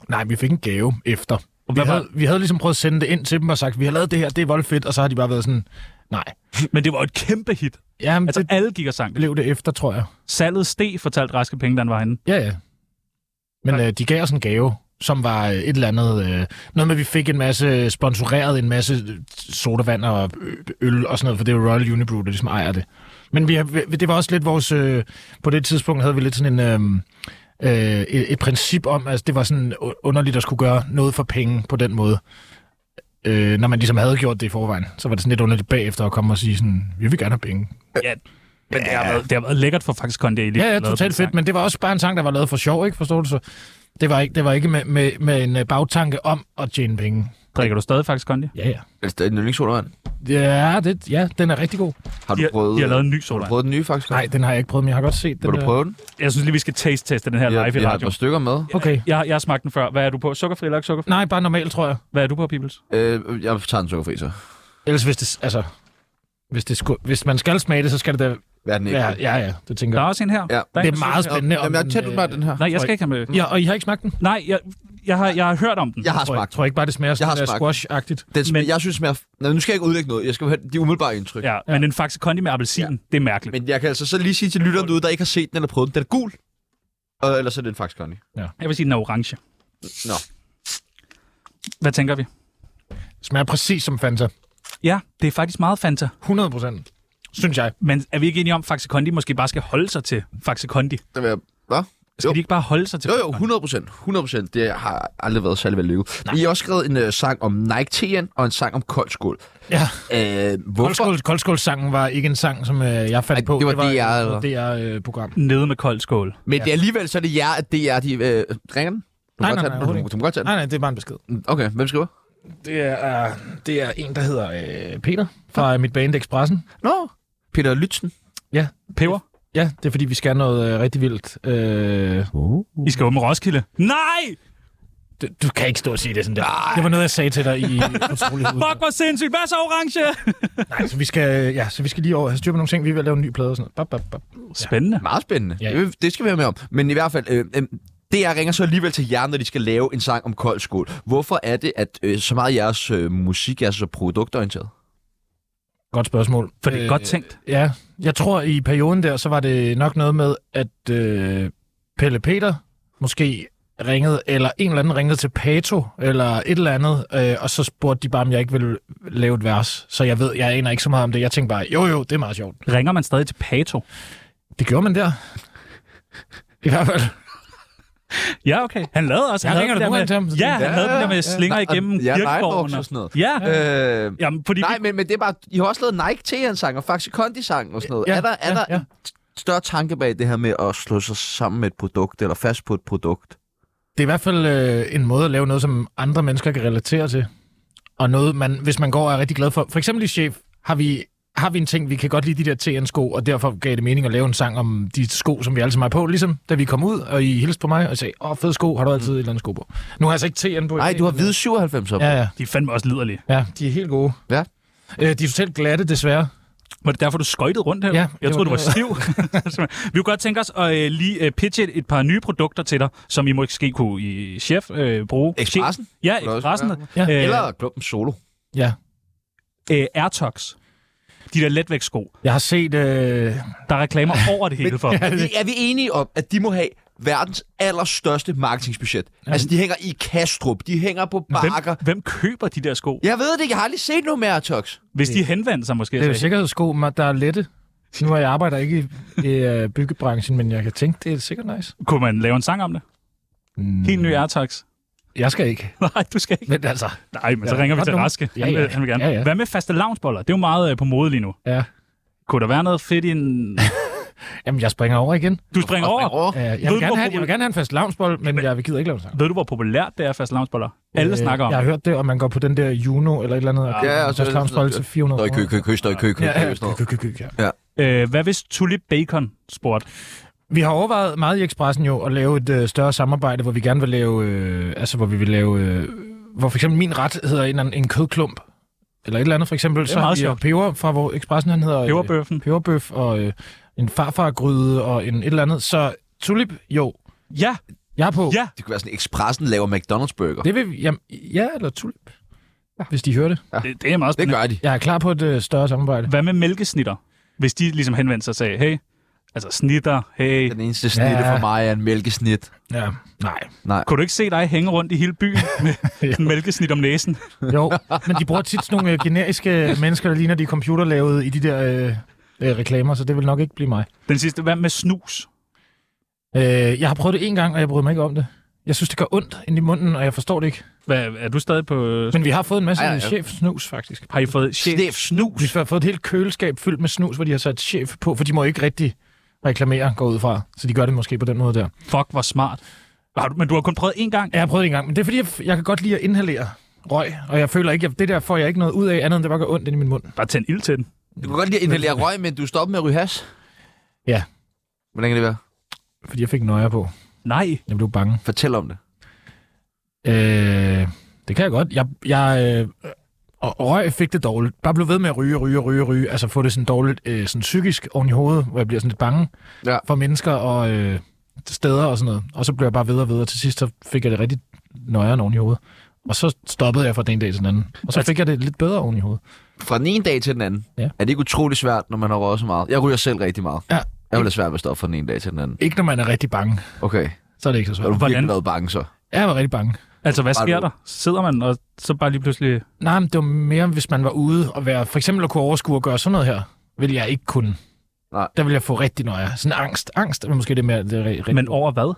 Speaker 3: Nej, vi fik en gave efter. Og vi,
Speaker 4: hvad var-
Speaker 3: havde, vi havde ligesom prøvet at sende det ind til dem og sagt, vi har lavet det her, det er voldfedt, og så har de bare været sådan, nej.
Speaker 4: Men det var jo et kæmpe hit.
Speaker 3: Jamen,
Speaker 4: Altså,
Speaker 3: det
Speaker 4: alle gik og sang det.
Speaker 3: blev det efter, tror jeg.
Speaker 4: Salget steg, fortalte Raske Penge, da han var henne.
Speaker 3: Ja, ja. Men
Speaker 4: Tak.
Speaker 3: øh, de gav os en gave, som var øh, et eller andet... Øh, noget med, at vi fik en masse øh, sponsoreret, en masse øh, sodavand og øh, øl og sådan noget, for det er jo Royal Unibrew, der ligesom ejer det. Men vi, har- vi- det var også lidt vores... Øh, på det tidspunkt havde vi lidt sådan en... Øh, øh, et, et princip om, at altså, det var sådan u- underligt at skulle gøre noget for penge på den måde. Øh, når man ligesom havde gjort det i forvejen, så var det sådan lidt underligt bagefter at komme og sige sådan, vi vil gerne have penge.
Speaker 4: Men det, har været, det har været lækkert for Faxe Kondi. at I lige
Speaker 3: Ja, ja,
Speaker 4: lavede den
Speaker 3: totalt
Speaker 4: sang.
Speaker 3: fedt, men det var også bare en sang, der var lavet for sjov, ikke? Forstår du så? Det var ikke, det var ikke med, med, med en øh, bagtanke om at tjene penge.
Speaker 4: Drikker du stadig Faxe Kondi?
Speaker 3: Ja, ja.
Speaker 1: Altså, det er en yndlingssodavand.
Speaker 3: Ja, det, ja, den er rigtig god.
Speaker 1: Har
Speaker 4: De
Speaker 1: du
Speaker 4: har,
Speaker 1: prøvet...
Speaker 4: de har lavet en ny
Speaker 1: Har du
Speaker 4: sodavand.
Speaker 1: prøvet den nye, faktisk?
Speaker 3: Nej, den har jeg ikke prøvet, men jeg har godt set den
Speaker 1: Vil du
Speaker 3: der.
Speaker 1: prøve den?
Speaker 4: Jeg synes lige, vi skal taste-teste den her live i
Speaker 1: jeg har et
Speaker 4: radioen.
Speaker 1: par stykker med.
Speaker 3: Okay.
Speaker 4: Jeg, jeg har smagt den før. Hvad er du på? Sukkerfri eller ikke sukkerfri?
Speaker 3: Nej, bare normalt, tror jeg.
Speaker 4: Hvad er du på, Pibels?
Speaker 1: Øh, jeg tager en sukkerfri, så.
Speaker 3: Ellers hvis det, altså, hvis, det sku, hvis man skal smage det, så skal det da
Speaker 1: Hvad er den ikke?
Speaker 3: være, ja, ja, det tænker
Speaker 4: Der er
Speaker 3: jeg.
Speaker 4: også en her.
Speaker 1: Ja.
Speaker 4: Der
Speaker 3: Det
Speaker 4: en,
Speaker 3: er meget spændende. om
Speaker 1: Jamen, jeg
Speaker 3: den,
Speaker 1: tager du
Speaker 3: øh,
Speaker 1: bare den her.
Speaker 4: Nej, jeg skal ikke have med.
Speaker 3: Ja, og I har ikke smagt den?
Speaker 4: Nej, jeg, jeg, har, jeg har hørt om den.
Speaker 1: Jeg har
Speaker 3: tror, jeg,
Speaker 1: smagt.
Speaker 3: tror ikke bare, det smager
Speaker 1: Jeg har
Speaker 3: sådan der
Speaker 1: smagt.
Speaker 3: squash-agtigt.
Speaker 1: Den sm-
Speaker 4: Men-
Speaker 1: Jeg synes, smager... Nå, nu skal jeg ikke udlægge noget. Jeg skal have de umiddelbare indtryk.
Speaker 4: Ja, men en Faxe Kondi med appelsin,
Speaker 1: Ja.
Speaker 4: det er mærkeligt.
Speaker 1: Men jeg kan altså så lige sige til lytteren derude, der ikke har set den eller prøvet den. Den er gul. Og ellers er det en faktisk Connie.
Speaker 4: Jeg vil sige, den er orange.
Speaker 1: Nå.
Speaker 4: Hvad tænker vi?
Speaker 3: Smager præcis som Fanta.
Speaker 4: Ja, det er faktisk meget Fanta.
Speaker 3: 100 procent, synes jeg.
Speaker 4: Men er vi ikke enige om, at Faxe Kondi måske bare skal holde sig til Faxe Kondi?
Speaker 1: Det vil jeg... Hvad?
Speaker 4: Skal
Speaker 1: Jo.
Speaker 4: de ikke bare holde sig til
Speaker 1: Jo,
Speaker 4: Faxe
Speaker 1: jo,
Speaker 4: Kondi?
Speaker 1: 100 procent. 100 procent. Det har aldrig været særlig vellykket. Vi har også skrevet en øh, sang om Nike T'en og en sang om koldskål.
Speaker 3: Ja.
Speaker 1: Øh, hvorfor?
Speaker 3: Koldskål, koldskålssangen var ikke en sang, som øh, jeg fandt
Speaker 1: Ej,
Speaker 3: på.
Speaker 1: det var DR,
Speaker 3: et- et øh, DR-program.
Speaker 4: Nede med kold skål.
Speaker 1: Men det er alligevel så er det jer, at det er de... Øh, ringer den? Du
Speaker 3: Nej,
Speaker 1: kan
Speaker 3: nej,
Speaker 1: godt tage
Speaker 3: nej,
Speaker 1: den.
Speaker 3: overhovedet
Speaker 1: Du- Du må godt tage
Speaker 3: Nej, nej, det er bare en besked.
Speaker 1: den. Okay, hvem skriver?
Speaker 3: Det er, det er en, der hedder øh, Peter fra ja. mit band Expressen.
Speaker 1: Nå, Peter Lytzen.
Speaker 4: Peber?
Speaker 3: Ja, det er fordi, vi skal noget øh, rigtig vildt. Øh,
Speaker 4: I skal åbne Roskilde. Nej!
Speaker 3: du, du kan ikke stå og sige det sådan der. Nej. Det var noget, jeg sagde til dig i utrolig ud.
Speaker 4: Fuck, hvor sindssygt. Hvad så orange?
Speaker 3: Nej, så vi, skal, ja, så vi skal lige over have styr på nogle ting. Vi er ved at lave en ny plade og sådan noget. Bap, bap, bap.
Speaker 4: Spændende.
Speaker 1: Meget spændende.
Speaker 3: Ja.
Speaker 1: Ja. Det, det skal vi have med om. Men i hvert fald, øh, øh, DR ringer så alligevel til jer, når de skal lave en sang om kold skål. Hvorfor er det, at øh, så meget af jeres øh, musik er så produktorienteret?
Speaker 3: Godt spørgsmål. Øh,
Speaker 4: For
Speaker 1: Øh,
Speaker 4: det er godt tænkt.
Speaker 3: Ja, jeg tror i perioden der, så var det nok noget med, at øh, Pelle Peter måske ringede, eller en eller anden ringede til Pato, eller et eller andet, øh, og så spurgte de bare, om jeg ikke ville lave et vers. Så jeg ved, jeg aner ikke så meget om det. Jeg tænkte bare, jo jo, det er meget sjovt.
Speaker 4: Ringer man stadig til Pato?
Speaker 3: Det gjorde man der. I hvert fald.
Speaker 4: Ja, okay. Han lavede også.
Speaker 3: Jeg
Speaker 4: han
Speaker 3: ringer
Speaker 4: lavede
Speaker 3: da nogle
Speaker 4: det der
Speaker 3: gange
Speaker 4: med,
Speaker 3: til ham, så sådan,
Speaker 4: Ja, han lavede det der med slinger igennem
Speaker 1: ja,
Speaker 4: kirkegården.
Speaker 1: Nightwalks og sådan noget.
Speaker 4: Ja,
Speaker 1: Øh,
Speaker 4: jamen, fordi
Speaker 1: nej, men, men det er bare, I har også lavet Nike T-en-sang og Faxe Kondi-sang og sådan noget.
Speaker 3: Ja,
Speaker 1: Ja, er der, er
Speaker 3: ja,
Speaker 1: der
Speaker 3: ja.
Speaker 1: ja. en st- større tanke bag det her med at slå sig sammen med et produkt, eller fast på et produkt?
Speaker 3: Det er i hvert fald øh, en måde at lave noget, som andre mennesker kan relatere til. Og noget, man, hvis man går og er rigtig glad for. For eksempel i Chef har vi, har vi en ting, vi kan godt lide de der TN-sko, og derfor gav det mening at lave en sang om de sko, som vi alle sammen har på, ligesom da vi kom ud, og I hilste på mig og sagde, åh, fede sko, har du altid et eller andet sko på. Nu har jeg altså ikke TN på. i
Speaker 1: Nej,
Speaker 3: dag,
Speaker 1: du har
Speaker 3: men-
Speaker 1: hvide 97 op.
Speaker 3: Ja, ja,
Speaker 4: de er fandme også liderlige.
Speaker 3: ja, de er helt gode.
Speaker 1: Ja.
Speaker 3: Øh, de er totalt glatte, desværre.
Speaker 4: Var det derfor, du skøjtede rundt her?
Speaker 3: Ja,
Speaker 4: jeg
Speaker 3: det
Speaker 4: troede, du var
Speaker 3: var
Speaker 4: stiv. vi kunne godt tænke os at øh, lige øh, pitche et, et par nye produkter til dig, som I måske kunne i chef øh, bruge.
Speaker 1: Expressen?
Speaker 4: Chef- Ja,
Speaker 1: Kunne det også
Speaker 4: Expressen.
Speaker 1: være?
Speaker 4: Ja. Øh,
Speaker 1: Eller klumpen solo.
Speaker 3: Ja.
Speaker 4: øh, Airtox. De der letvægtssko.
Speaker 3: Jeg har set... Øh...
Speaker 4: Der er reklamer over det hele for.
Speaker 1: Er vi, er vi enige om, at de må have verdens allerstørste marketingbudget? Altså, de hænger i Kastrup, de hænger på bakker.
Speaker 4: Hvem, hvem køber de der sko?
Speaker 1: Jeg ved det, jeg har aldrig set noget med Airtox.
Speaker 4: Hvis de henvender sig måske.
Speaker 3: Det er jo
Speaker 4: og sagde,
Speaker 3: sikkerhedssko, men der er lette. Nu har jeg arbejder ikke i, i øh, byggebranchen, men jeg kan tænke, det er sikkert nice.
Speaker 4: Kunne man lave en sang om det? Mm. Helt ny Airtox.
Speaker 3: Jeg skal ikke.
Speaker 4: Nej, du skal ikke.
Speaker 3: Men altså,
Speaker 4: Nej, men så
Speaker 3: Ja,
Speaker 4: ringer vi
Speaker 3: godt
Speaker 4: til
Speaker 3: nummer.
Speaker 4: Raske.
Speaker 3: Ja,
Speaker 4: Han,
Speaker 3: ja.
Speaker 4: vil, han vil gerne.
Speaker 3: Ja, ja.
Speaker 4: Hvad med faste lavnsboller? Det er jo meget øh, på mode lige nu.
Speaker 3: ja.
Speaker 4: Kunne der være noget fedt i en...
Speaker 3: Jamen, jeg springer over igen.
Speaker 4: Du springer over.
Speaker 1: Åh,
Speaker 3: Øh, jeg,
Speaker 4: Ved du,
Speaker 3: vil
Speaker 4: hvor
Speaker 3: gerne have,
Speaker 4: populær-
Speaker 3: jeg vil gerne have en fast lavnsbold, men jeg gider ikke lave sang.
Speaker 4: Ved du, hvor populært det er faste lavnsboller? Alle øh, snakker om
Speaker 3: Jeg
Speaker 4: det.
Speaker 3: har hørt det, og man går på den der Juno eller et eller andet. og køber
Speaker 1: og
Speaker 3: en
Speaker 1: så er
Speaker 3: fast
Speaker 1: det
Speaker 3: lavnsbold
Speaker 1: sådan-
Speaker 3: til 400
Speaker 1: Stå i kø, kø, kø, stå i kø, kø,
Speaker 3: Ja,
Speaker 1: kø,
Speaker 3: ja,
Speaker 1: sådan noget.
Speaker 3: kø, kø, kø, kø, ja.
Speaker 4: Øh, hvad hvis Tulip Bacon spurgte?
Speaker 3: Vi har overvejet meget i Expressen jo at lave et øh, større samarbejde, hvor vi gerne vil lave, øh, altså hvor vi vil lave, øh, hvor for eksempel min ret hedder en, eller anden- en kødklump, eller et eller andet for eksempel, så har
Speaker 4: meget
Speaker 3: vi jo
Speaker 4: sjovt.
Speaker 3: peber fra, hvor Expressen han hedder... øh,
Speaker 4: Peberbøffen?
Speaker 3: Peberbøf og øh, en farfargryde og en et eller andet, så tulip, jo,
Speaker 4: Ja,
Speaker 3: jeg er på.
Speaker 4: Ja.
Speaker 1: Det kunne være sådan, Expressen laver McDonald's burger.
Speaker 3: Det vil, vi- jamen, ja, eller tulip, ja. hvis de hører det.
Speaker 4: det, det er meget
Speaker 1: Det
Speaker 4: spændende.
Speaker 1: gør de.
Speaker 3: Jeg er klar på et øh, større samarbejde.
Speaker 4: Hvad med mælkesnitter? Hvis de ligesom henvendte sig og sagde, hey, altså snitter, hey.
Speaker 1: Den eneste snitte
Speaker 3: Ja.
Speaker 1: for mig er en mælkesnit.
Speaker 3: Ja, nej.
Speaker 4: Kunne du ikke se dig hænge rundt i hele byen med en mælkesnit om næsen?
Speaker 3: Jo, men de bruger tit sådan nogle øh, generiske mennesker, der ligner de er computerlavede i de der øh, øh, reklamer, så det vil nok ikke blive mig.
Speaker 4: Den sidste, hvad med snus?
Speaker 3: Øh, jeg har prøvet det en gang, og jeg bryder mig ikke om det. Jeg synes, det gør ondt ind i munden, og jeg forstår det ikke.
Speaker 4: Hvad, er du stadig på...
Speaker 3: Men vi har fået en masse
Speaker 1: Ej,
Speaker 3: Ej,
Speaker 1: ej,
Speaker 3: ja.
Speaker 1: ej.
Speaker 3: chef-snus, faktisk.
Speaker 4: Har I fået chef?
Speaker 1: Snef snus.
Speaker 3: Vi har fået et helt køleskab fyldt med snus, hvor de har sat chef på, for de må jo ikke rigtig reklamere, går jeg ud fra. Så de gør det måske på den måde der.
Speaker 4: Fuck, hvor smart. Har du, men du har kun prøvet én gang.
Speaker 3: Jeg har prøvet det en gang, men det er fordi, jeg, f- jeg kan godt lide at inhalere røg, og jeg føler ikke, at det der får jeg ikke noget ud af, andet end det bare gør ondt ind i min mund.
Speaker 4: Bare tænd ild til den.
Speaker 1: Du kan godt lide at inhalere røg, men du stopper med at ryge has.
Speaker 3: Ja.
Speaker 1: Hvordan kan det være?
Speaker 3: Fordi jeg fik nøjer på.
Speaker 4: Nej.
Speaker 3: Jeg blev bange.
Speaker 1: Fortæl om det.
Speaker 3: Øh, det kan jeg godt. Jeg, jeg øh, og og røg fik det dårligt. Bare blev ved med at ryge, ryge, ryge, ryge. Altså få det sådan dårligt øh, sådan psykisk oven i hovedet, hvor jeg bliver sådan lidt bange
Speaker 1: Ja.
Speaker 3: for mennesker og øh, steder og sådan noget. Og så blev jeg bare ved og ved, og til sidst så fik jeg det rigtig nøjeren oven i hovedet. Og så stoppede jeg fra den ene dag til den anden. Og
Speaker 1: Altså-
Speaker 3: så fik jeg det lidt bedre oven i hovedet.
Speaker 1: Fra den ene dag til den anden,
Speaker 3: Ja.
Speaker 1: er det ikke utrolig svært, når man har røget så meget? Jeg ryger selv rigtig meget.
Speaker 3: Ja.
Speaker 1: Jeg vil have svært ved at stoppe fra den ene dag til den anden.
Speaker 3: Ikke når man er rigtig bange,
Speaker 1: Okay.
Speaker 3: så er det ikke så
Speaker 1: Så har du
Speaker 3: svært.
Speaker 1: virkelig
Speaker 4: Hvordan-
Speaker 1: været bange så.
Speaker 3: Jeg var rigtig bange.
Speaker 4: Altså, hvad
Speaker 1: Bare
Speaker 4: sker
Speaker 1: du-
Speaker 4: der? Sidder man, og så bare lige pludselig...
Speaker 3: Nej, men det var mere, hvis man var ude og være, for eksempel at kunne overskue at gøre sådan noget her, ville jeg ikke kunne.
Speaker 1: Nej.
Speaker 3: Der ville jeg få rigtig nøje. Sådan angst. Angst er måske det mere... Det, er
Speaker 4: Men over hvad?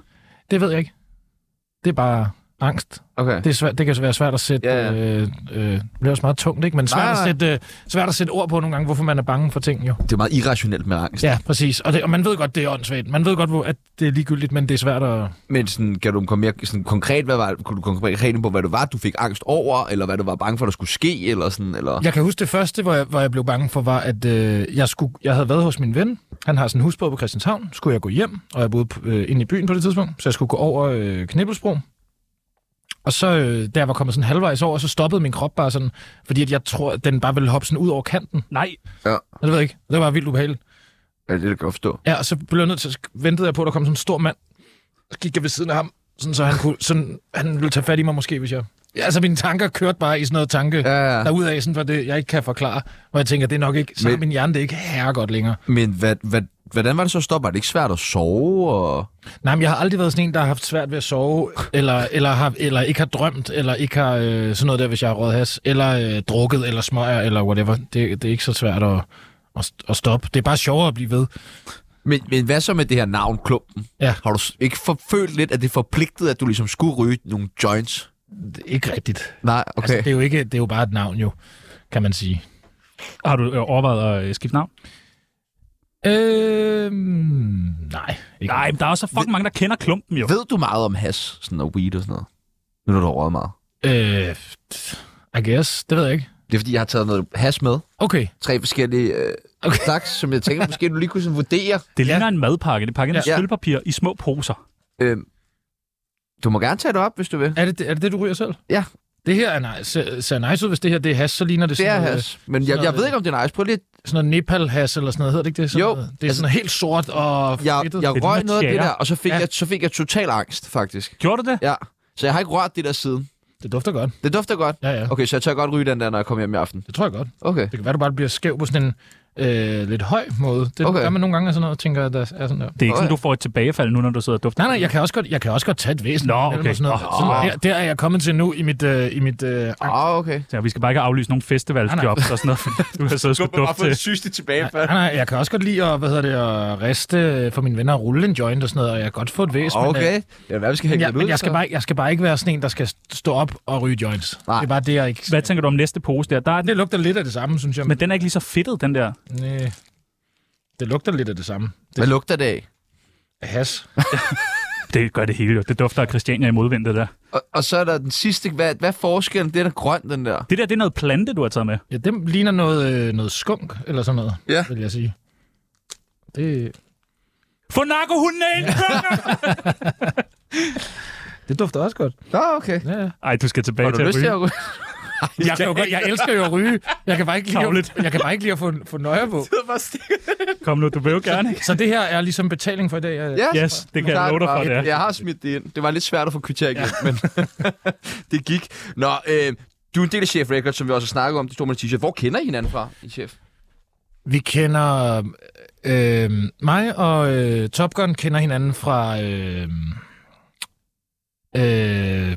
Speaker 3: det ved jeg ikke. Det er bare angst.
Speaker 1: Okay.
Speaker 3: Det, er svært, det kan være svært at sætte...
Speaker 1: Ja, ja.
Speaker 3: Øh, øh, det er også meget tungt, ikke? Men svært,
Speaker 1: Nej,
Speaker 3: at
Speaker 1: nej.
Speaker 3: sætte, øh, svært at sætte ord på nogle gange, hvorfor man er bange for ting, jo.
Speaker 1: Det er meget irrationelt med angst.
Speaker 3: Ja, præcis. Og, det, og man ved godt, det er åndssvagt. Man ved godt, hvor, at det er ligegyldigt, men det er svært at...
Speaker 1: Men sådan, kan du komme mere sådan konkret, hvad var, kunne du komme konkret ind på, hvad det var, du fik angst over, eller hvad du var bange for, der skulle ske, eller sådan, eller...
Speaker 3: Jeg kan huske det første, hvor jeg, hvor jeg blev bange for, var, at øh, jeg, skulle, jeg havde været hos min ven. Han har sådan en husbåd på Christianshavn. Skulle jeg gå hjem, og jeg boede på- øh, inde i byen på det tidspunkt, så jeg skulle gå over øh, Knibbelsbro. Og så, øh, da jeg var kommet sådan halvvejs over, så stoppede min krop bare sådan, fordi at jeg tror, at den bare ville hoppe sådan ud over kanten.
Speaker 4: Nej.
Speaker 3: Jeg ved jeg ikke. Det var vildt ubehageligt.
Speaker 1: Ja, det kan jeg godt forstå.
Speaker 3: Ja, og så blev jeg nødt til, så ventede jeg på, at der kom sådan en stor mand. Så gik jeg ved siden af ham, sådan, så han, kunne, sådan, han ville tage fat i mig måske, hvis jeg... Ja, altså, mine tanker kørte bare i sådan noget tanke
Speaker 1: Ja, ja.
Speaker 3: derudaf, sådan, for det, jeg ikke kan forklare. Hvor jeg tænker, det er nok ikke, så har
Speaker 1: Men-
Speaker 3: min hjerne det ikke herre godt længere.
Speaker 1: Men hvad, hvad, hvordan var det så at stoppe? Var det ikke svært at sove? Og...
Speaker 3: Nej, men jeg har aldrig været sådan en, der har haft svært ved at sove, eller, eller, har, eller ikke har drømt, eller ikke har øh, sådan noget der, hvis jeg har røget has, eller øh, drukket, eller smøger, eller whatever. Det, det er ikke så svært at, at, at stoppe. Det er bare sjovere at blive ved.
Speaker 1: Men, men hvad så med det her navn, Klumpen?
Speaker 3: Ja.
Speaker 1: Har du s- ikke for- følt lidt, at det forpligtede, at du ligesom skulle ryge nogle joints?
Speaker 3: Det er ikke rigtigt.
Speaker 1: Nej, okay.
Speaker 3: Altså, det,
Speaker 1: Altså,
Speaker 3: er jo ikke, det er jo bare et navn, jo, kan man sige.
Speaker 4: Har du øh, overvejet at øh, skifte navn?
Speaker 3: Øh, nej. Ikke.
Speaker 4: Nej, men der er også så fucking mange, der kender klumpen jo.
Speaker 1: det... Ved du meget om has, sådan og weed og sådan noget? Nu når du har røget meget.
Speaker 3: Øh, I guess. Det ved jeg ikke.
Speaker 1: Det er, fordi jeg har taget noget has med.
Speaker 3: Okay.
Speaker 1: Tre forskellige øh, okay. slags, som jeg tænker, måske du lige kunne sådan vurdere.
Speaker 4: Det ligner en madpakke. Det er pakket med
Speaker 1: Ja.
Speaker 4: sølvpapir i små poser.
Speaker 8: Øhm,
Speaker 1: Øh, du må gerne tage det op, hvis du vil.
Speaker 3: Er det, er det det, du ryger selv? Det her er nice. Ser- ser nice ud, hvis det her det er has, så ligner det,
Speaker 8: Det er
Speaker 3: sådan, noget,
Speaker 8: has. Men jeg, jeg ved ikke, om det er nice. Prøv lige.
Speaker 3: sådan noget Nepal-has eller sådan noget. Hedder det ikke det? Sådan
Speaker 8: Jo,
Speaker 3: Noget. Det er
Speaker 8: altså-
Speaker 3: sådan helt sort og
Speaker 8: Jeg,
Speaker 3: fedtet.
Speaker 8: jeg røg noget af det
Speaker 4: tjære.
Speaker 8: der, og så fik,
Speaker 4: Ja.
Speaker 8: jeg, så fik jeg total angst, faktisk.
Speaker 4: Gjorde du det?
Speaker 8: Ja. Så jeg har ikke rørt det der siden.
Speaker 3: Det dufter godt.
Speaker 8: Det dufter godt.
Speaker 3: Ja, ja.
Speaker 8: Okay, så jeg tør godt ryge den der, når jeg kommer hjem i aften.
Speaker 3: Det tror jeg godt.
Speaker 8: Okay.
Speaker 3: Det kan være, du bare bliver skæv på sådan en øh, lidt høj måde. Det
Speaker 8: Okay.
Speaker 3: okay. gør man nogle gange af sådan noget, tænker jeg, der er sådan der.
Speaker 4: Det er ikke sådan,
Speaker 8: Nå,
Speaker 4: du får et tilbagefald nu, når du sidder og dufter.
Speaker 3: Nej, nej, jeg kan også godt, jeg kan også godt tage et væsen.
Speaker 4: Nå,
Speaker 3: imellem
Speaker 4: okay.
Speaker 3: og Sådan noget.
Speaker 4: Åh.
Speaker 3: Sådan, der, der, er jeg kommet til nu i mit... Øh, i mit øh, ang-
Speaker 8: Ah, okay.
Speaker 4: Så vi skal bare ikke aflyse nogen festivalsjob og sådan noget, fordi du har siddet og skulle dufte til.
Speaker 8: sygeste tilbagefald.
Speaker 3: nej, nej, jeg kan også godt lide at, hvad hedder det, at riste øh, for mine venner og rulle en joint og sådan noget, og jeg kan godt få et væsen. Men, øh,
Speaker 8: Okay. Ja, hvad vi skal
Speaker 3: men,
Speaker 8: hænge
Speaker 3: jeg,
Speaker 8: den ud?
Speaker 3: men jeg, skal
Speaker 8: så?
Speaker 3: bare, jeg skal bare ikke være sådan en, der skal stå op og ryge joints.
Speaker 8: Nej.
Speaker 3: Det er bare det, jeg ikke...
Speaker 4: Hvad tænker du om næste pose der? der er den,
Speaker 3: Det lugter lidt af det samme, synes jeg.
Speaker 4: men den er ikke lige så fedtet, den der.
Speaker 3: Næh. Det lugter lidt af det samme.
Speaker 8: Hvad lugter det af?
Speaker 3: Has.
Speaker 4: Det gør det hele jo. Det dufter af Christiania i modvind, det der.
Speaker 8: Og, og så er der den sidste. Hvad, hvad er forskellen? Det er da grøn, den der.
Speaker 4: Det der, det er noget plante, du har taget med.
Speaker 3: Ja, den ligner noget, øh, noget skunk eller sådan noget,
Speaker 5: Ja.
Speaker 3: vil jeg sige. Det,
Speaker 4: Få narkohunden ind!
Speaker 3: det dufter også godt.
Speaker 8: Nå, okay.
Speaker 3: Ja, ja.
Speaker 4: Ej, du skal tilbage
Speaker 8: Har
Speaker 4: til
Speaker 8: du
Speaker 4: at
Speaker 8: lyst til
Speaker 4: ryge.
Speaker 8: at ryge?
Speaker 3: Jeg, kan jo godt, jeg elsker jo at ryge. Jeg kan bare ikke lide,
Speaker 4: Tavligt.
Speaker 3: at, jeg kan bare ikke lide at få, få nøje på.
Speaker 4: Kom nu, du vil jo gerne. ikke?
Speaker 3: Så det her er ligesom betaling for i dag. Jeg,
Speaker 8: Ja,
Speaker 4: Yes, det kan jeg
Speaker 8: Klart,
Speaker 4: love dig
Speaker 8: var
Speaker 4: for,
Speaker 8: et-
Speaker 4: det er.
Speaker 8: Jeg har smidt det ind. Det var lidt svært at få kvittering ja. men det gik. Nå, øh, du er en del af Chef Records, som vi også har snakket om. Det stod med en t-shirt. Hvor kender I hinanden fra, I Chef?
Speaker 3: Vi kender... Øh, mig og øh, Top Gun kender hinanden fra... Øh, øh,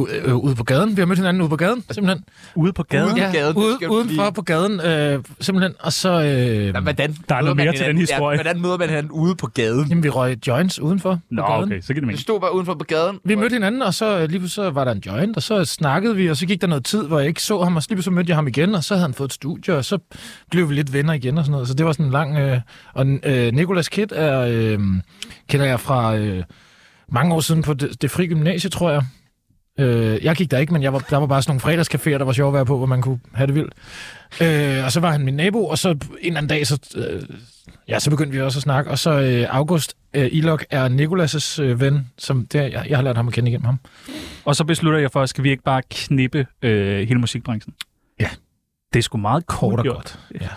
Speaker 3: u- øh, ude på gaden. Vi har mødt hinanden ude på gaden, simpelthen.
Speaker 4: Ude på gaden.
Speaker 8: Ude på gaden, det skal
Speaker 3: ude,
Speaker 8: du
Speaker 3: udenfor
Speaker 8: lige-
Speaker 3: på gaden, øh, simpelthen. Og så... Øh,
Speaker 8: Ja, hvordan
Speaker 4: Der er
Speaker 8: møder man
Speaker 4: noget mere til den
Speaker 8: hinanden?
Speaker 4: historie.
Speaker 8: Ja, hvordan møder man hinanden ude på gaden?
Speaker 3: jamen, vi røg joints udenfor
Speaker 4: Nå,
Speaker 3: på gaden.
Speaker 4: okay, så kan det
Speaker 8: Vi
Speaker 4: mening.
Speaker 8: stod bare udenfor på gaden.
Speaker 3: Vi mødte hinanden, og så øh, lige pludselig så var der en joint, og så snakkede vi, og så gik der noget tid, hvor jeg ikke så ham, og så lige pludselig mødte jeg ham igen, og så havde han fået et studie, og så blev vi lidt venner igen og sådan noget. Så det var sådan en lang... Øh, og øh, Nicolas Kitt er, øh, kender jeg fra øh, mange år siden på det, det frie gymnasie, tror jeg. Øh, jeg gik der ikke, men jeg var, der var bare sådan nogle fredagscaféer, der var sjovt at være på, hvor man kunne have det vildt. Øh, og så var han min nabo, og så en eller anden dag, så, øh, ja, så begyndte vi også at snakke. Og så øh, August øh, Ilok er Nikolas' øh, ven, som det, er- jeg, jeg har lært ham at kende igennem ham.
Speaker 4: Og så beslutter jeg for, skal vi ikke bare knippe øh, hele musikbranchen?
Speaker 3: Ja.
Speaker 4: Det er sgu meget
Speaker 3: Kort
Speaker 4: kort
Speaker 3: og
Speaker 4: gjort.
Speaker 3: godt. Ja.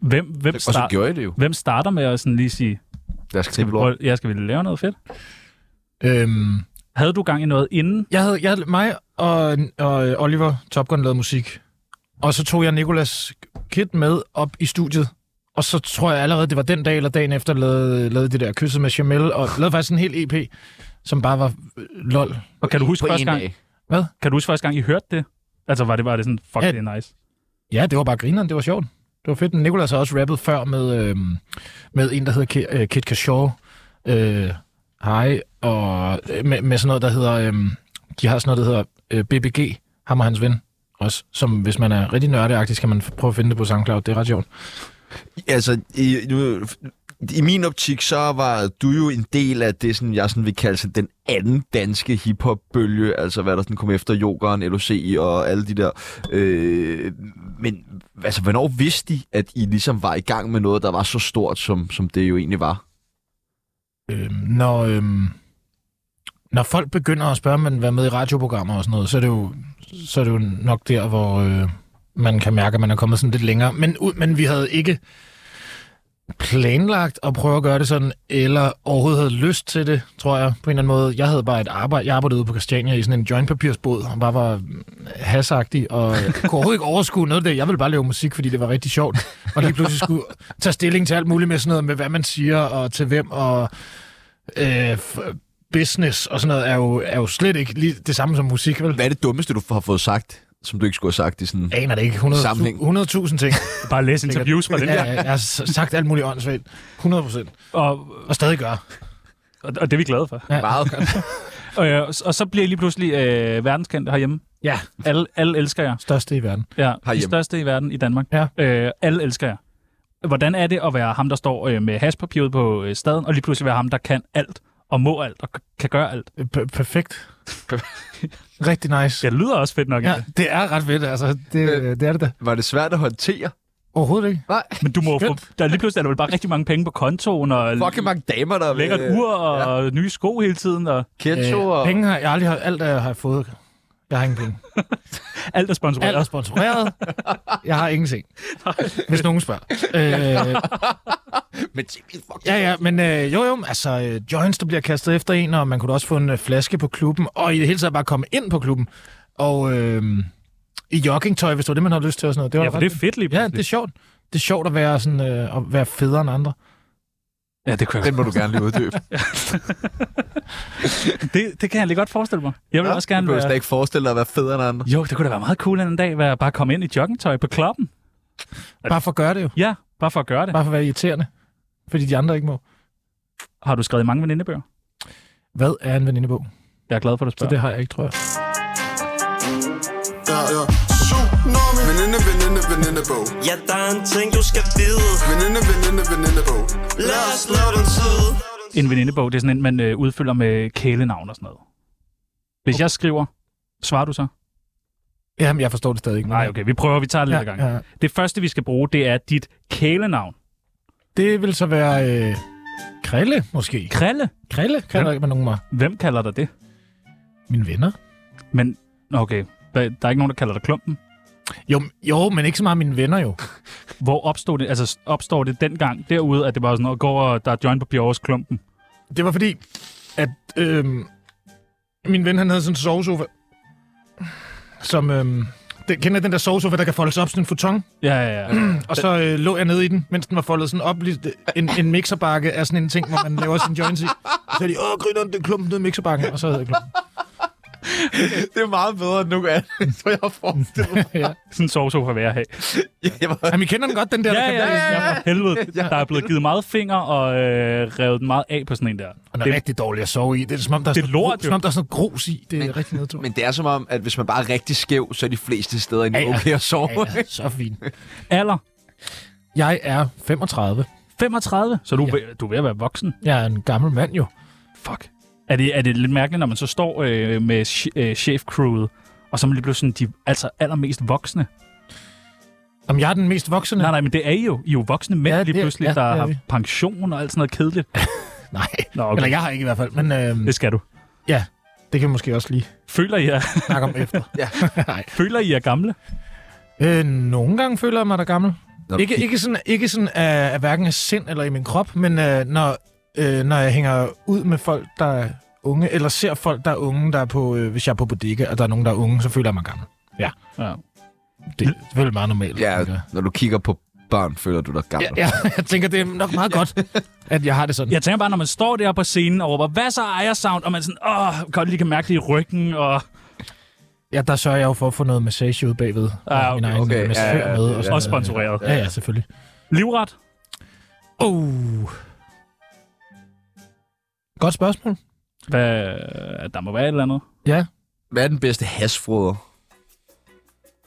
Speaker 4: Hvem, hvem,
Speaker 8: Og så
Speaker 4: start,
Speaker 8: gjorde I det jo.
Speaker 4: hvem starter med at sådan lige sige,
Speaker 8: Lad os knippe lort.
Speaker 4: "Prøv, jeg skal vi lave noget fedt?
Speaker 3: Øhm,
Speaker 4: Havde du gang i noget inden?
Speaker 3: jeg havde, jeg, havde- mig og, og øh, Oliver Top Gun lavede musik, og så tog jeg Nikolas Kid med op i studiet. Og så tror jeg allerede, det var den dag eller dagen efter, lavede, lavede det der kysset med Jamel, og lavede faktisk en hel EP, som bare var øh, lol.
Speaker 4: Og kan du huske
Speaker 8: På
Speaker 4: første
Speaker 8: en
Speaker 4: gang?
Speaker 8: dag.
Speaker 4: Kan du huske første gang, I hørte det? Altså, var det, var det sådan, fuck,
Speaker 3: Ja.
Speaker 4: det er nice.
Speaker 3: Ja, det var bare grineren. Det var sjovt. Det var fedt. Nikolas har også rappet før med, øhm, med en, der hedder Ki- øh, Kid Kashaw. Øh, hej. Og øh, med, med sådan noget, der hedder... Øhm, de har sådan noget, der hedder øh, BBG. Ham og hans ven. Også, som hvis man er rigtig nørdeagtig, skal man f- prøve at finde det på SoundCloud. Det er ret sjovt.
Speaker 1: Altså, i, nu, i min optik, så var du jo en del af det, sådan, jeg sådan vil kalde sådan, den anden danske hiphop-bølge, altså hvad der sådan kom efter Jokeren, LOC og alle de der. Øh, men altså, hvornår vidste I, at I ligesom var i gang med noget, der var så stort, som, som det jo egentlig var?
Speaker 3: Øhm, når, øhm, når folk begynder at spørge, om man vil være med i radioprogrammer og sådan noget, så er det jo, så er det jo nok der, hvor øh, man kan mærke, at man er kommet sådan lidt længere. Men, ud, men vi havde ikke planlagt at prøve at gøre det sådan, eller overhovedet havde lyst til det, tror jeg, på en eller anden måde. Jeg havde bare et arbejde. Jeg arbejdede ude på Christiania i sådan en jointpapirsbåd, og bare var hasagtig, og kunne overhovedet ikke overskue noget af det. Jeg ville bare lave musik, fordi det var rigtig sjovt. Og lige pludselig skulle tage stilling til alt muligt med sådan noget, med hvad man siger, og til hvem, og øh, f- business og sådan noget er jo, er jo slet ikke lige det samme som musik, vel?
Speaker 1: Hvad er det dummeste, du har fået sagt, som du ikke skulle have sagt i sådan...
Speaker 3: Jeg aner det ikke. 100
Speaker 1: Sammenhæng.
Speaker 3: 100.000 ting.
Speaker 4: Bare læse interviews fra den
Speaker 3: Ja,
Speaker 4: der.
Speaker 3: ja, jeg har s- sagt alt muligt åndssvagt. 100 procent.
Speaker 4: Og,
Speaker 3: Og stadig gør.
Speaker 4: og, og det er vi glade for.
Speaker 3: Ja.
Speaker 1: Meget.
Speaker 4: Og, øh, og så bliver I lige pludselig øh, verdenskendt herhjemme.
Speaker 3: Ja.
Speaker 4: Alle, alle elsker jer.
Speaker 3: Største i verden.
Speaker 4: Ja, de
Speaker 1: Herhjemme.
Speaker 4: største i verden i Danmark.
Speaker 3: Ja.
Speaker 4: Øh, alle elsker jer. Hvordan er det at være ham, der står øh, med haspapiret på øh, staden, og lige pludselig være ham, der kan alt, og må alt, og k- kan gøre alt?
Speaker 3: P- perfekt. Rigtig nice.
Speaker 4: Det lyder også fedt nok.
Speaker 3: Ja,
Speaker 4: Ja.
Speaker 3: det er ret fedt, altså. Det, det er det da.
Speaker 1: Var det svært at håndtere?
Speaker 3: Overhovedet ikke.
Speaker 4: Men du må jo få,
Speaker 3: Skønt.
Speaker 4: der er lige pludselig er der vel bare rigtig mange penge på kontoen, og
Speaker 1: Fucking mange damer, der...
Speaker 4: lækkert ur, og nye sko hele tiden, og
Speaker 1: Ketchup og...
Speaker 3: Øh, Penge har jeg aldrig har, alt øh, har jeg fået. Jeg har ingen penge.
Speaker 4: Alt er sponsoreret.
Speaker 3: Alt er sponsoreret. Jeg har ingenting. Hvis nogen spørger. Øh,
Speaker 8: Men Timmy, fuck.
Speaker 3: ja, ja, men øh, jo, jo, altså øh, joints, der bliver kastet efter en, og man kunne da også få en øh, flaske på klubben, og i det hele taget bare komme ind på klubben. Og øh, i joggingtøj, hvis det var det, man havde lyst til og sådan noget. Det var
Speaker 4: Ja,
Speaker 3: da
Speaker 4: for
Speaker 3: ret-
Speaker 4: det er fedt lige
Speaker 3: Ja, det er
Speaker 4: pludselig.
Speaker 3: sjovt. Det er sjovt at være, sådan, øh, at være federe end andre.
Speaker 4: ja, det, kunne jeg,
Speaker 8: Den må du gerne lige uddybe.
Speaker 4: det, det kan jeg lige godt forestille mig. Jeg vil ja, også
Speaker 8: du
Speaker 4: gerne
Speaker 8: kan jo slet
Speaker 4: være...
Speaker 8: ikke forestille dig at være federe end andre.
Speaker 4: Jo, det kunne da være meget cool en dag, at bare komme ind i joggingtøj på kloppen.
Speaker 3: Bare for at gøre det jo.
Speaker 4: Ja, bare for at gøre det.
Speaker 3: Bare for at være irriterende. Fordi de andre ikke må.
Speaker 4: Har du skrevet mange venindebøger?
Speaker 3: Hvad er en venindebog?
Speaker 4: Jeg er glad for, at du
Speaker 3: Så
Speaker 4: spørger.
Speaker 3: det har jeg ikke, tror jeg.
Speaker 5: Ja, ja. Tsunami. Veninde, veninde, venindebog.
Speaker 6: Ja, der er en ting, du skal vide.
Speaker 5: Veninde, veninde, venindebog.
Speaker 6: Lad os lave den tid.
Speaker 4: En venindebog, det er sådan en, man øh, udfylder med kælenavn og sådan noget. Hvis jeg skriver, svarer du så?
Speaker 3: Jamen, jeg forstår det stadig ikke.
Speaker 4: Nej, okay, vi prøver, vi tager det lidt
Speaker 3: Ja,
Speaker 4: ja, gang. Ja.
Speaker 3: ja.
Speaker 4: Det første, vi skal bruge, det er dit kælenavn.
Speaker 3: Det vil så være... Øh, Krille, måske.
Speaker 4: Krille.
Speaker 3: Krille kalder man nogen mig.
Speaker 4: Hvem kalder dig det?
Speaker 3: Mine venner.
Speaker 4: Men, okay, der, der er ikke nogen, der kalder dig klumpen.
Speaker 3: Jo, men- jo, men ikke så meget mine venner jo.
Speaker 4: Hvor opstod det, altså opstår det dengang derude, at det var sådan noget, går og der er joint på Bjørges klumpen?
Speaker 3: Det var fordi, at øh, min ven han havde sådan en sovesofa, som... Øh, den, kender I den der sovesofa, der kan foldes op sådan en futon?
Speaker 4: Ja, ja, ja.
Speaker 3: Og så øh, lå jeg nede i den, mens den var foldet sådan op. Lige, øh, en, en mixerbakke er sådan en ting, hvor man laver sin joints i. Så er de, åh, griner den klumpen ned i mixerbakken, og så havde jeg klumpen.
Speaker 8: Det er meget bedre end nogen andet, så jeg har forestillet mig.
Speaker 3: ja.
Speaker 4: Sådan en sovsofa vil jeg have.
Speaker 8: Jeg var
Speaker 3: Jamen, I kender den godt, den der.
Speaker 4: Ja,
Speaker 3: der
Speaker 4: ja,
Speaker 3: kan
Speaker 4: ja,
Speaker 3: være-
Speaker 4: ja, for helvede. Der er blevet givet meget finger og øh, revet meget af på sådan en der.
Speaker 3: Og den er
Speaker 4: Det,
Speaker 3: rigtig dårlig at sove i. Det er som om, der er,
Speaker 4: Det er
Speaker 3: sådan,
Speaker 4: lort,
Speaker 3: gru-
Speaker 4: jo.
Speaker 3: som om, der er sådan noget grus i. Det er rigtig nedtur.
Speaker 8: Men det er som om, at hvis man bare er rigtig skæv, så er de fleste steder egentlig
Speaker 3: Ja, ja.
Speaker 8: okay at sove.
Speaker 3: Ja, ja, så fint.
Speaker 4: alder?
Speaker 3: Jeg er 35.
Speaker 4: 35? Så du, ja. du er ved at være voksen?
Speaker 3: Jeg er en gammel mand jo.
Speaker 4: Fuck. Er det, er det lidt mærkeligt, når man så står øh, med ch- øh, chefcrewet, og så er man lige pludselig sådan de altså allermest voksne?
Speaker 3: Om jeg er den mest voksne?
Speaker 4: Nej, nej, men det er I jo. I er jo voksne mænd
Speaker 3: Ja,
Speaker 4: ja, lige
Speaker 3: det-
Speaker 4: pludselig,
Speaker 3: ja,
Speaker 4: ja, der
Speaker 3: det er
Speaker 4: har
Speaker 3: vi.
Speaker 4: haft pension og alt sådan noget kedeligt.
Speaker 3: nej.
Speaker 4: Nå,
Speaker 3: Okay. Eller
Speaker 4: okay.
Speaker 3: jeg har ikke i hvert fald, men øh,
Speaker 4: Det skal du.
Speaker 3: ja, det kan vi måske også lige
Speaker 4: Føler I, er,
Speaker 3: snakke om efter.
Speaker 4: føler I er gamle?
Speaker 3: øh, nogle gange føler jeg mig da gammel.
Speaker 8: Nå,
Speaker 3: Ikke, ikke sådan, ikke sådan af, af hverken af sind eller i min krop, men øh, når, øh, når jeg hænger ud med folk, der er unge, eller ser folk, der er unge, der er på, øh, hvis jeg er på bodega, og der er nogen, der er unge, så føler jeg mig gammel. Ja.
Speaker 4: Ja.
Speaker 3: Det er selvfølgelig meget normalt. tænker
Speaker 8: Ja,
Speaker 3: jeg.
Speaker 8: når du kigger på børn, føler du dig gammel.
Speaker 3: ja, ja, jeg tænker, det er nok meget godt, at jeg har det sådan.
Speaker 4: Jeg tænker bare, når man står der på scenen og råber, hvad så Aya Sound? Og man sådan, åh, godt lige kan mærke det i ryggen, og,
Speaker 3: Ja, der sørger jeg jo for at få noget massage ud bagved.
Speaker 4: Ah,
Speaker 3: og min
Speaker 4: okay,
Speaker 3: egen
Speaker 8: okay.
Speaker 3: massør
Speaker 8: Ja, ja,
Speaker 3: med.
Speaker 8: ja,
Speaker 3: Og, sådan
Speaker 4: og
Speaker 3: noget.
Speaker 4: sponsoreret.
Speaker 3: Ja, ja, selvfølgelig.
Speaker 4: Livret?
Speaker 3: Oh. Godt spørgsmål.
Speaker 4: Hvad, øh, der må være et eller andet.
Speaker 3: Ja,
Speaker 8: Hvad er den bedste hasfroder?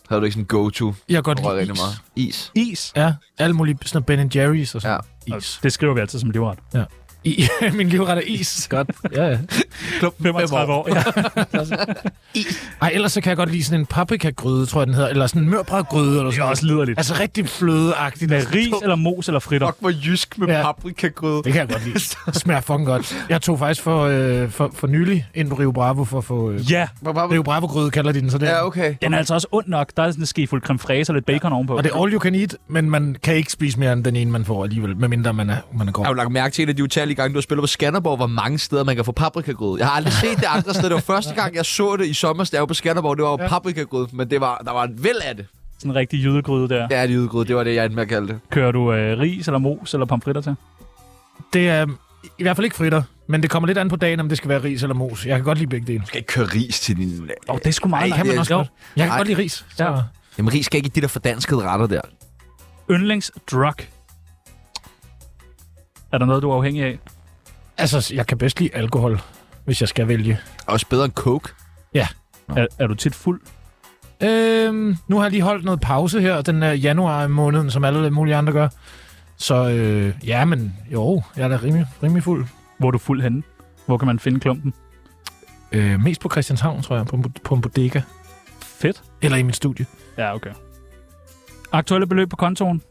Speaker 8: Har du ikke sådan en go-to?
Speaker 3: jeg kan godt
Speaker 8: Jeg rører
Speaker 3: lide
Speaker 8: rigtig
Speaker 3: is.
Speaker 8: meget. Is.
Speaker 4: Is?
Speaker 3: Ja, alle mulige sådan noget Ben Jerry's og sådan.
Speaker 4: Is. Det skriver vi altid som livret.
Speaker 3: I, min livret er is. Godt. Ja, ja.
Speaker 8: Klub
Speaker 4: 35 år. Ja.
Speaker 3: Ej, ellers så kan jeg godt lide sådan en paprikagryde, tror jeg den hedder. Eller sådan en mørbrædgryde eller
Speaker 4: Det
Speaker 3: sådan
Speaker 4: er
Speaker 3: noget.
Speaker 4: også liderligt.
Speaker 3: Altså rigtig flødeagtigt.
Speaker 4: Med
Speaker 3: Altså,
Speaker 4: ris
Speaker 3: tung.
Speaker 4: eller mos eller fritter.
Speaker 8: Fuck, hvor jysk med
Speaker 3: Ja.
Speaker 8: ja. paprikagryde.
Speaker 3: Det kan jeg godt lide. Det smager fucking godt. Jeg tog faktisk for, øh, for, for nylig ind på Rio Bravo for at få... Øh,
Speaker 4: Ja,
Speaker 3: Rio Bravo-gryde kalder de den, så det
Speaker 8: Ja, okay.
Speaker 4: den er altså også ond nok. Der er sådan en skefuld creme fraise og lidt bacon ovenpå.
Speaker 3: Og det er all you can eat, men man kan ikke spise mere end den ene, man får alligevel, medmindre man er, man er grov.
Speaker 8: Jeg har jo lagt mærke til, at de utallige gange, du har spillet på Skanderborg, hvor mange steder man kan få paprikagryde. Jeg har aldrig set det andre steder. Det var første gang, jeg så det i sommer, da jeg var på Skanderborg. Det var jo paprikagryde, men det var, der var en væld af det.
Speaker 4: Sådan en rigtig jydegryde der.
Speaker 8: Det er de ydegryde, det var det, jeg endte med at kalde det.
Speaker 4: Kører du øh, ris eller mos eller pomfritter til?
Speaker 3: Det er i hvert fald ikke fritter, men det kommer lidt an på dagen, om det skal være ris eller mos. Jeg kan godt lide begge dele.
Speaker 8: Du skal ikke køre ris til din...
Speaker 4: Åh, oh, det er sgu meget.
Speaker 3: Det kan man
Speaker 8: det-
Speaker 3: også godt. Jeg kan
Speaker 8: Ej.
Speaker 3: godt lide ris. Så.
Speaker 4: Ja.
Speaker 8: Jamen, ris skal ikke i de der fordanskede retter der.
Speaker 4: Yndlingsdrug. Er der noget, du er afhængig af?
Speaker 3: Altså, jeg kan bedst lide alkohol, hvis jeg skal vælge.
Speaker 8: Også bedre end coke.
Speaker 4: Er, er du tit fuld?
Speaker 3: Øhm, nu har jeg lige holdt noget pause her, den er januar i måneden, som alle mulige andre gør. Så øh, ja, men jo, jeg er da rimelig, rimelig fuld.
Speaker 4: Hvor er du fuld henne? Hvor kan man finde klumpen?
Speaker 3: Øh, mest på Christianshavn, tror jeg, på, en bod- på en bodega.
Speaker 4: Fedt.
Speaker 3: Eller i mit studie.
Speaker 4: Ja, okay. Aktuelle beløb på kontoen?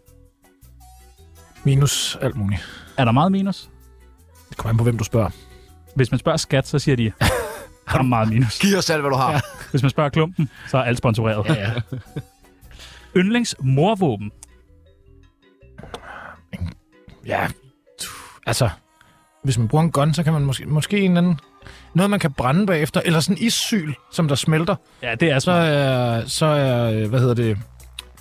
Speaker 3: Minus alt muligt.
Speaker 4: Er der meget minus?
Speaker 3: Det kommer an på, hvem du spørger.
Speaker 4: Hvis man spørger skat, så siger de, Der er meget minus.
Speaker 1: Giv os alt, hvad du har.
Speaker 4: Hvis man spørger klumpen, så er alt sponsoreret.
Speaker 3: Ja, ja.
Speaker 4: Yndlings morvåben.
Speaker 3: ja. tuh, Altså, hvis man bruger en gun, så kan man måske, måske en eller anden... Noget, man kan brænde bagefter, eller sådan en issyl, som der smelter.
Speaker 4: Ja, det er
Speaker 3: Så er, så er øh, hvad hedder det,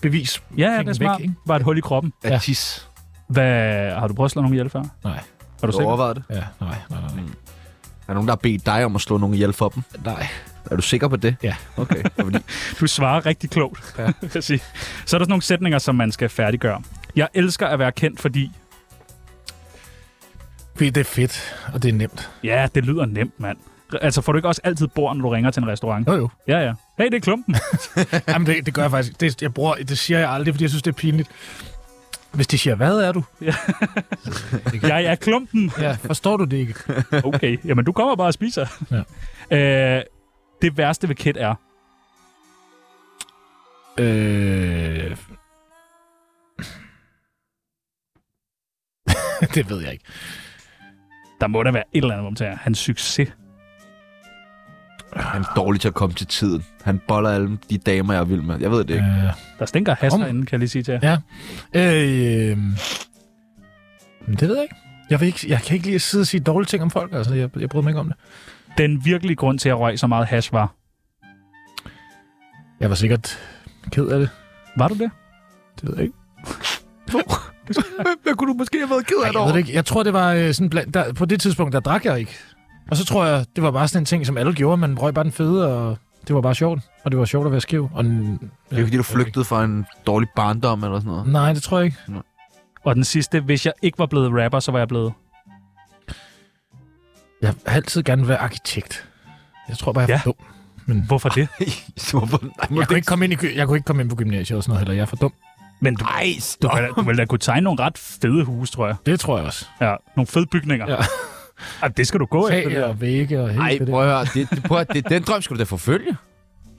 Speaker 3: bevis.
Speaker 4: Ja, ja, det er
Speaker 3: væk,
Speaker 4: smart.
Speaker 3: ikke?
Speaker 4: Var et hul i kroppen.
Speaker 1: Ja, tis.
Speaker 4: Hvad, har du prøvet at slå nogen ihjel før?
Speaker 3: Nej.
Speaker 4: Har du
Speaker 1: Du
Speaker 4: sikker?
Speaker 1: overvejer det.
Speaker 3: Ja, nej, nej, nej.
Speaker 1: Er der nogen, der har bedt dig om at slå nogen ihjel for dem?
Speaker 3: nej.
Speaker 1: Er du sikker på det?
Speaker 3: Ja.
Speaker 1: Okay. Fordi,
Speaker 4: Du svarer rigtig klogt. Ja. vil jeg sige. Så er der sådan nogle sætninger, som man skal færdiggøre. Jeg elsker at være kendt, fordi...
Speaker 3: Fordi det er fedt, og det er nemt.
Speaker 4: Ja, det lyder nemt, mand. Altså, får du ikke også altid bord, når du ringer til en restaurant?
Speaker 3: Jo, jo.
Speaker 4: Ja, ja. Hey, det er klumpen.
Speaker 3: Jamen, det, det gør jeg faktisk. Det, jeg bruger, det siger jeg aldrig, fordi jeg synes, det er pinligt. Hvis de siger, hvad er du?
Speaker 4: Jeg er klumpen.
Speaker 3: Ja, forstår du det ikke?
Speaker 4: Okay, jamen du kommer bare og spiser.
Speaker 3: Ja.
Speaker 4: Øh, det værste ved Kit er...
Speaker 3: Øh... det ved jeg ikke.
Speaker 4: Der må der være et eller andet om til jer. hans succes.
Speaker 1: han er dårlig til at komme til tiden. Han boller alle de damer, jeg er vild med. Jeg ved det ikke.
Speaker 3: Øh,
Speaker 4: Der stinker has
Speaker 3: Om-
Speaker 4: herinde, kan jeg lige sige til jer.
Speaker 3: Ja. øh, men det ved jeg ikke. Jeg, ved ikke. jeg kan ikke lige sidde og sige dårlige ting om folk. Altså, jeg, jeg bryder mig ikke om det.
Speaker 4: Den virkelige grund til, at jeg røg så meget hash var...
Speaker 3: Jeg var sikkert ked af det.
Speaker 4: Var du det?
Speaker 3: Det ved jeg ikke.
Speaker 1: Hvad kunne du måske have været ked
Speaker 3: Ej, jeg, ved det ikke. jeg tror, det var øh, sådan blandt, der, på det tidspunkt, der drak jeg ikke. Og så tror jeg, det var bare sådan en ting, som alle gjorde. Man røg bare den fede, og det var bare sjovt. Og det var sjovt at være skæv. Og, n-
Speaker 1: Det er jo fordi, du flygtede fra en dårlig barndom eller sådan noget.
Speaker 3: nej, det tror jeg ikke.
Speaker 4: Og den sidste, hvis jeg ikke var blevet rapper, så var jeg blevet...
Speaker 3: Jeg har altid gerne vil være arkitekt. Jeg tror bare, jeg er
Speaker 4: Ja.
Speaker 3: for dum. Men
Speaker 4: Hvorfor det?
Speaker 1: Hvorfor? Nej, må
Speaker 3: jeg
Speaker 1: du
Speaker 3: kunne, ikke komme ind i, gy- jeg kunne ikke komme ind på gymnasiet og sådan noget heller. Jeg er for dum.
Speaker 4: Men du,
Speaker 1: Ej,
Speaker 4: du, kan, da- du vil da kunne tegne nogle ret fede huse, tror jeg.
Speaker 3: Det tror jeg også.
Speaker 4: Ja, nogle fede bygninger.
Speaker 3: Ja.
Speaker 4: Ej, det skal du gå efter. det
Speaker 3: Tag
Speaker 4: der.
Speaker 3: og vægge og hele
Speaker 1: Ej,
Speaker 3: det
Speaker 1: prøv
Speaker 3: der.
Speaker 1: at høre. Det, det, prøv at, det, den drøm skulle du da forfølge.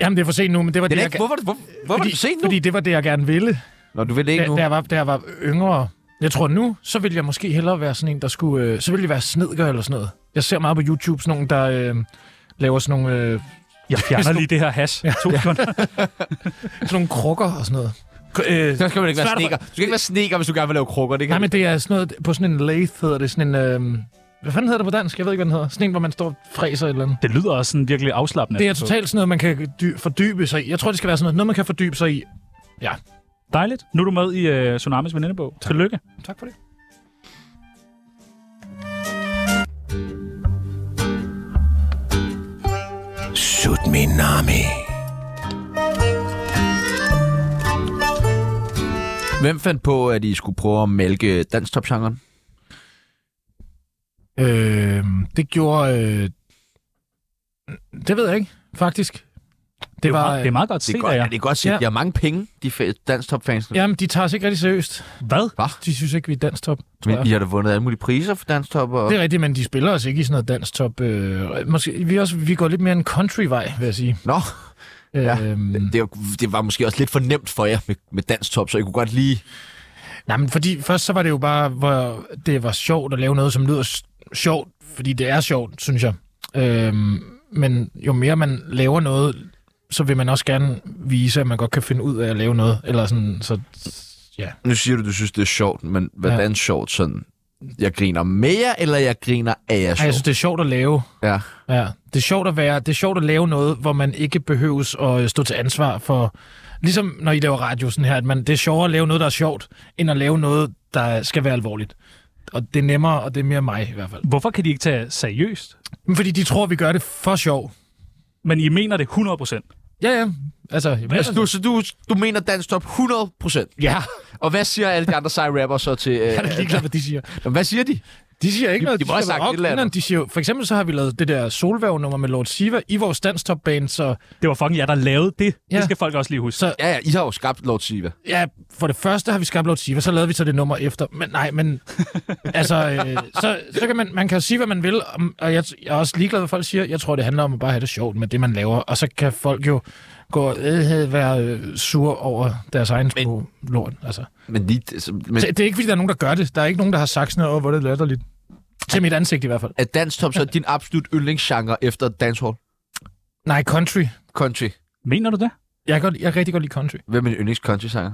Speaker 3: Jamen, det er for sent nu, men det var
Speaker 1: Den
Speaker 3: det,
Speaker 1: er
Speaker 3: jeg,
Speaker 1: ikke,
Speaker 3: ga-
Speaker 1: hvorfor, hvor, hvor var
Speaker 3: fordi,
Speaker 1: det for sent nu?
Speaker 3: fordi det var det, jeg gerne ville,
Speaker 1: Nå, du vil det
Speaker 3: da,
Speaker 1: ikke nu.
Speaker 3: da, jeg var, da jeg var yngre. Jeg tror nu, så ville jeg måske hellere være sådan en, der skulle... Øh, så ville jeg være snedker eller sådan noget. Jeg ser meget på YouTube sådan nogen, der øh, laver sådan nogle, øh,
Speaker 4: Jeg fjerner lige det her hash. To sekunder.
Speaker 3: sådan nogle krukker og sådan noget.
Speaker 4: Øh,
Speaker 1: Så skal man ikke være
Speaker 4: Svært at-
Speaker 1: sneker. Du skal ikke være sneker, hvis du gerne vil lave krukker. Det kan
Speaker 3: Nej, men det er sådan noget... På sådan en lathe hedder det sådan en... Øh, hvad fanden hedder det på dansk? Jeg ved ikke, hvad den hedder. Sådan en, hvor man står og fræser et eller andet.
Speaker 4: det lyder også sådan virkelig afslappende.
Speaker 3: Det er totalt sådan noget, man kan dy- fordybe sig i. Jeg tror, det skal være sådan noget, noget man kan fordybe sig i.
Speaker 4: Dejligt. Nu er du med i øh, Tsunamis venindebog. Tillykke.
Speaker 3: Tak for det.
Speaker 1: Hvem fandt på, at I skulle prøve at mælke dansk genren
Speaker 3: Øh, det gjorde... Øh, det ved jeg ikke, faktisk. Det,
Speaker 4: Det,
Speaker 3: var... øh,
Speaker 4: var, det er meget godt
Speaker 1: Det
Speaker 4: set
Speaker 1: er
Speaker 4: af
Speaker 1: godt, ja,
Speaker 4: jer.
Speaker 1: det er godt set.
Speaker 3: Ja.
Speaker 1: Ja. De har mange penge, de fa- dansk fansene
Speaker 3: Jamen, de tager os ikke rigtig seriøst.
Speaker 4: Hvad?
Speaker 3: De synes ikke, vi er danstop. tror jeg.
Speaker 1: Men I har da vundet alle mulige priser for dansk top. Og...
Speaker 3: Det er rigtigt, men de spiller os ikke i sådan noget danstop. Øh, måske, vi, er også, vi går lidt mere en country-vej, vil jeg sige.
Speaker 1: Nå, Ja.
Speaker 3: Øhm,
Speaker 1: det, var- det, var måske også lidt for nemt for jer med, med dansk top, så I kunne godt lige...
Speaker 3: Nej, men fordi først så var det jo bare, hvor det var sjovt at lave noget, som lyder s- sjovt, fordi det er sjovt, synes jeg. Øhm, men jo mere man laver noget, så vil man også gerne vise, at man godt kan finde ud af at lave noget. Eller sådan, så
Speaker 1: Nu siger du, du synes, det er sjovt, men hvordan ja. sjovt sådan? Jeg griner mere, eller jeg griner af jer
Speaker 3: Ej,
Speaker 1: sjovt?
Speaker 3: jeg synes, det er sjovt at lave.
Speaker 1: Ja.
Speaker 3: Ja, det er sjovt at være, det er sjovt at lave noget, hvor man ikke behøves at øh, stå til ansvar for, ligesom når I laver radio sådan her, at man, det er sjovere at lave noget, der er sjovt, end at lave noget, der skal være alvorligt. Og det er nemmere, og det er mere mig i hvert fald.
Speaker 4: Hvorfor kan de ikke tage seriøst?
Speaker 3: Men fordi de tror, vi gør det for sjov.
Speaker 4: Men I mener det 100 procent.
Speaker 3: Ja, ja. Altså, jamen,
Speaker 1: Altså, du, så du, du mener dansk top 100 procent?
Speaker 3: Ja,
Speaker 1: Og hvad siger alle de andre seje rapper så til...
Speaker 3: jeg er da
Speaker 1: Øh,
Speaker 3: ligeglad, hvad de siger.
Speaker 1: hvad siger de?
Speaker 3: De siger ikke
Speaker 1: De-
Speaker 3: noget.
Speaker 1: de må have
Speaker 3: siger
Speaker 1: sagt
Speaker 3: bare,
Speaker 1: et eller
Speaker 3: "Åh,
Speaker 1: andet."
Speaker 3: grineren." De siger, jo- for eksempel så har vi lavet det der solværv-nummer med Lord Siva i vores danstopbane, så,
Speaker 4: Det var fucking jer, der lavede det. Ja.
Speaker 3: Ja.
Speaker 4: Det skal folk også lige huske.
Speaker 3: Så-
Speaker 1: Ja, ja, I har jo skabt Lord Siva.
Speaker 3: ja, for det første har vi skabt Lord Siva, så lavede vi så det nummer efter. Men nej, men altså, øh, så, så kan man, man kan sige, hvad man vil, om- og jeg, jeg er også ligeglad, hvad folk siger. Jeg tror, det handler om at bare have det sjovt med det, man laver, og så kan folk jo gå og øh, være øh, sure over deres egen sko lort. Altså.
Speaker 1: Men, de, altså, men
Speaker 3: Så det er ikke, fordi der er nogen, der gør det. Der er ikke nogen, der har sagt sådan noget, "Åh, hvor er det latterligt. Til mit ansigt i hvert fald.
Speaker 1: er dansk top så din absolut yndlingsgenre efter dancehall?
Speaker 3: Nej, country.
Speaker 1: Country.
Speaker 4: Mener du det?
Speaker 3: Jeg kan, godt, jeg kan rigtig godt lide country.
Speaker 1: Hvem er din yndlings country-sanger?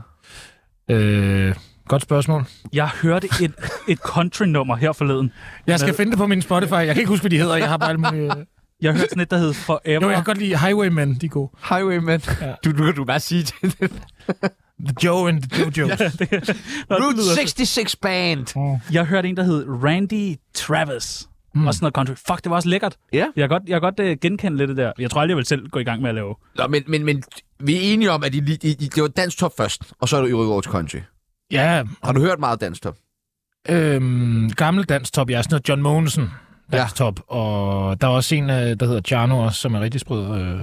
Speaker 3: Øh, godt spørgsmål.
Speaker 4: Jeg hørte et, et country-nummer her forleden.
Speaker 3: Jeg skal finde det på min Spotify. Jeg kan ikke huske, hvad de hedder. Jeg har bare alle mulige...
Speaker 4: Jeg hørte sådan et, der hed Forever.
Speaker 3: Jo, jeg kan godt lide Highwaymen. De er gode.
Speaker 1: Highwayman.
Speaker 3: Ja.
Speaker 1: Du, nu kan du bare sige det.
Speaker 3: The Joe and the Jojos.
Speaker 4: Nå, det
Speaker 1: Route
Speaker 4: lyder-
Speaker 1: 66 Band.
Speaker 4: Jeg hørte en, der hed Randy Travis. Mm. Også noget country. Fuck, det var også lækkert.
Speaker 1: Ja.
Speaker 4: Jeg kan godt, jeg kan godt uh, genkende lidt af det der. Jeg tror aldrig, jeg vil selv gå i gang med at lave.
Speaker 1: Nå, men, men, men vi er enige om, at I, lige- I, I, det var dansk top først, og så er du i Rødovre til country.
Speaker 3: Ja,
Speaker 1: Har du hørt meget dansk top?
Speaker 3: øhm, gammel dansk top. Jeg er sådan noget John Mogensen dansk top. Og der er også en, øh, der hedder Jarno, også, som er rigtig sprød. Øh,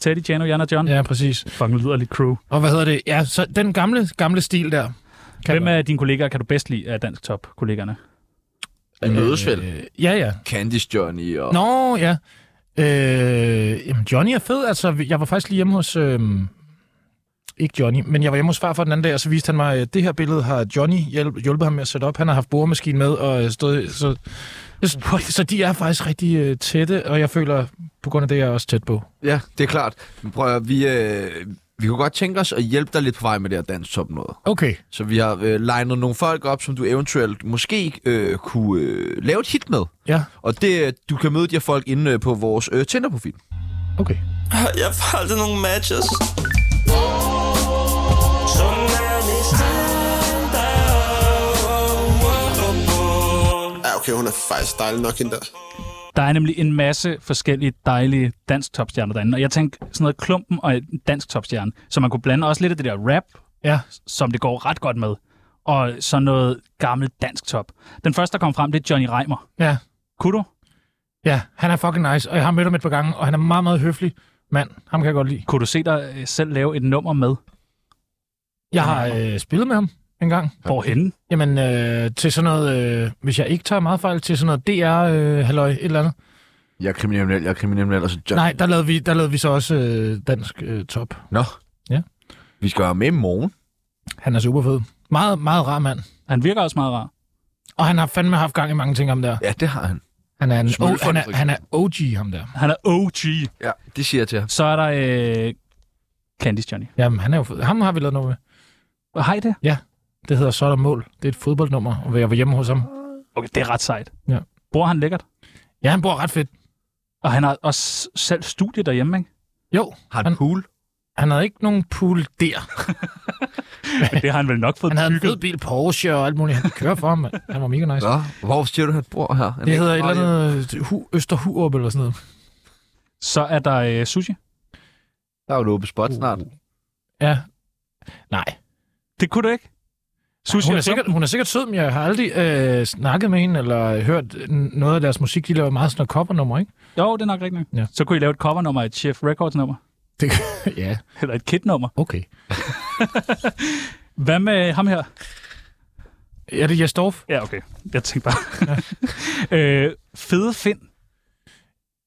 Speaker 4: Teddy, Jano, Jan og John.
Speaker 3: ja, præcis.
Speaker 4: Fuck, nu lyder lidt crew.
Speaker 3: Og hvad hedder det? Ja, så den gamle, gamle stil der. Kan
Speaker 4: Hvem af dine kollegaer kan du bedst lide af Dansk Top-kollegerne?
Speaker 1: I mødes vel.
Speaker 3: Øh, ja, ja.
Speaker 1: Candice Johnny og...
Speaker 3: Nå, ja. Øh, jamen, Johnny er fed. Altså, vi- jeg var faktisk lige hjemme hos... Øh, ikke Johnny, men jeg var hjemme hos far for den anden dag, og så viste han mig, at det her billede har Johnny hjælp, hjulpet ham med at sætte op. Han har haft boremaskine med, og øh, stod, så, så, så de er faktisk rigtig øh, tætte, og jeg føler, på grund af det, jeg er også tæt på.
Speaker 1: Ja, det er klart. Men prøv at, høre, vi, øh, vi kunne godt tænke os at hjælpe dig lidt på vej med det her dansk top noget.
Speaker 3: Okay.
Speaker 1: Så vi har øh, legnet nogle folk op, som du eventuelt måske øh, kunne øh, lave et hit med.
Speaker 3: Ja,
Speaker 1: Og det, øh, du kan møde de her folk inde øh, på vores øh, Tinder-profil.
Speaker 3: okay.
Speaker 6: Jeg får aldrig nogen matches. Sådan er det standard.
Speaker 5: Ja, okay, hun er faktisk dejlig nok, hende der.
Speaker 4: Der er nemlig en masse forskellige dejlige dansk topstjerner derinde, og jeg tænkte sådan noget klumpen og en dansk topstjerne, så man kunne blande også lidt af det der rap,
Speaker 3: Ja,
Speaker 4: som det går ret godt med, og så noget gammelt dansk top. Den første, der kom frem, det er Johnny Reimer.
Speaker 3: ja,
Speaker 4: Kunne du?
Speaker 3: ja. Han er fucking nice, og jeg har mødt ham et par gange, og han er meget, meget høflig mand. Ham kan jeg godt lide.
Speaker 4: Kunne du se dig øh, selv lave et nummer med?
Speaker 3: Jeg har øh, spillet med ham en gang.
Speaker 4: Hvorhenne?
Speaker 3: Jamen, øh, til sådan noget, øh, hvis jeg ikke tager meget fejl, til sådan noget DR-halløj, øh, halløj, et eller andet.
Speaker 1: Jeg er kriminel, jeg er kriminel, og så John.
Speaker 3: Nej, der lavede vi, der lavede vi så også øh, dansk øh, top.
Speaker 1: Nå.
Speaker 3: Ja.
Speaker 1: Vi skal være med i morgen.
Speaker 3: Han er super fed. Meget, meget rar mand.
Speaker 4: Han virker også meget rar.
Speaker 3: Og han har fandme haft gang i mange ting, ham der.
Speaker 1: Ja, det har han.
Speaker 3: Han er, en,
Speaker 1: Smule
Speaker 3: oh, han
Speaker 1: for
Speaker 3: er,
Speaker 1: eksempel.
Speaker 3: han er OG, ham der.
Speaker 4: Han er OG.
Speaker 1: Ja, det siger jeg til ham.
Speaker 4: Så er der øh, Candice Johnny.
Speaker 3: Jamen, han er jo fed. Ham har vi lavet noget med.
Speaker 4: Hej det.
Speaker 3: Det hedder Så er der mål. Det er et fodboldnummer, og jeg var hjemme hos ham.
Speaker 4: Okay, det er ret sejt.
Speaker 3: Ja.
Speaker 4: Bor han lækkert?
Speaker 3: Ja, han bor ret fedt.
Speaker 4: Og han har også selv studie derhjemme, ikke?
Speaker 3: Jo,
Speaker 1: Har han
Speaker 3: Han-
Speaker 1: pool?
Speaker 3: han havde ikke nogen pool der.
Speaker 4: Men det har han vel nok fået
Speaker 3: Han havde en
Speaker 4: bygget.
Speaker 3: fed bil, Porsche og alt muligt. Han kører for ham. mand. Han var mega nice.
Speaker 1: Nå, hvor siger du, han bor her? Han
Speaker 3: Det
Speaker 1: er
Speaker 3: hedder et
Speaker 1: ikke
Speaker 3: eller
Speaker 1: meget
Speaker 3: andet øh, hu, Østerhurup eller sådan noget.
Speaker 4: Så er der øh, sushi.
Speaker 1: hjemme. Der er jo et åbent spot
Speaker 3: Uh,
Speaker 1: snart.
Speaker 3: Ja. Nej.
Speaker 4: Det kunne du ikke. Sushi
Speaker 3: Hun
Speaker 4: og
Speaker 3: er, sikkert, hun er sikkert sød, men jeg har aldrig øh, snakket med hende, eller hørt n- noget af deres musik. De laver meget sådan noget covernummer, ikke?
Speaker 4: Plum. Jo, det er nok rigtigt. Ja.
Speaker 3: Ja.
Speaker 4: Så kunne I lave et covernummer, et Chef Records nummer,
Speaker 3: Det, ja,
Speaker 4: eller et kidnummer.
Speaker 3: okay.
Speaker 4: Hvad med ham her?
Speaker 3: Er det Jastorf?
Speaker 4: Ja, okay. Jeg tænkte bare. øh, fede Finn.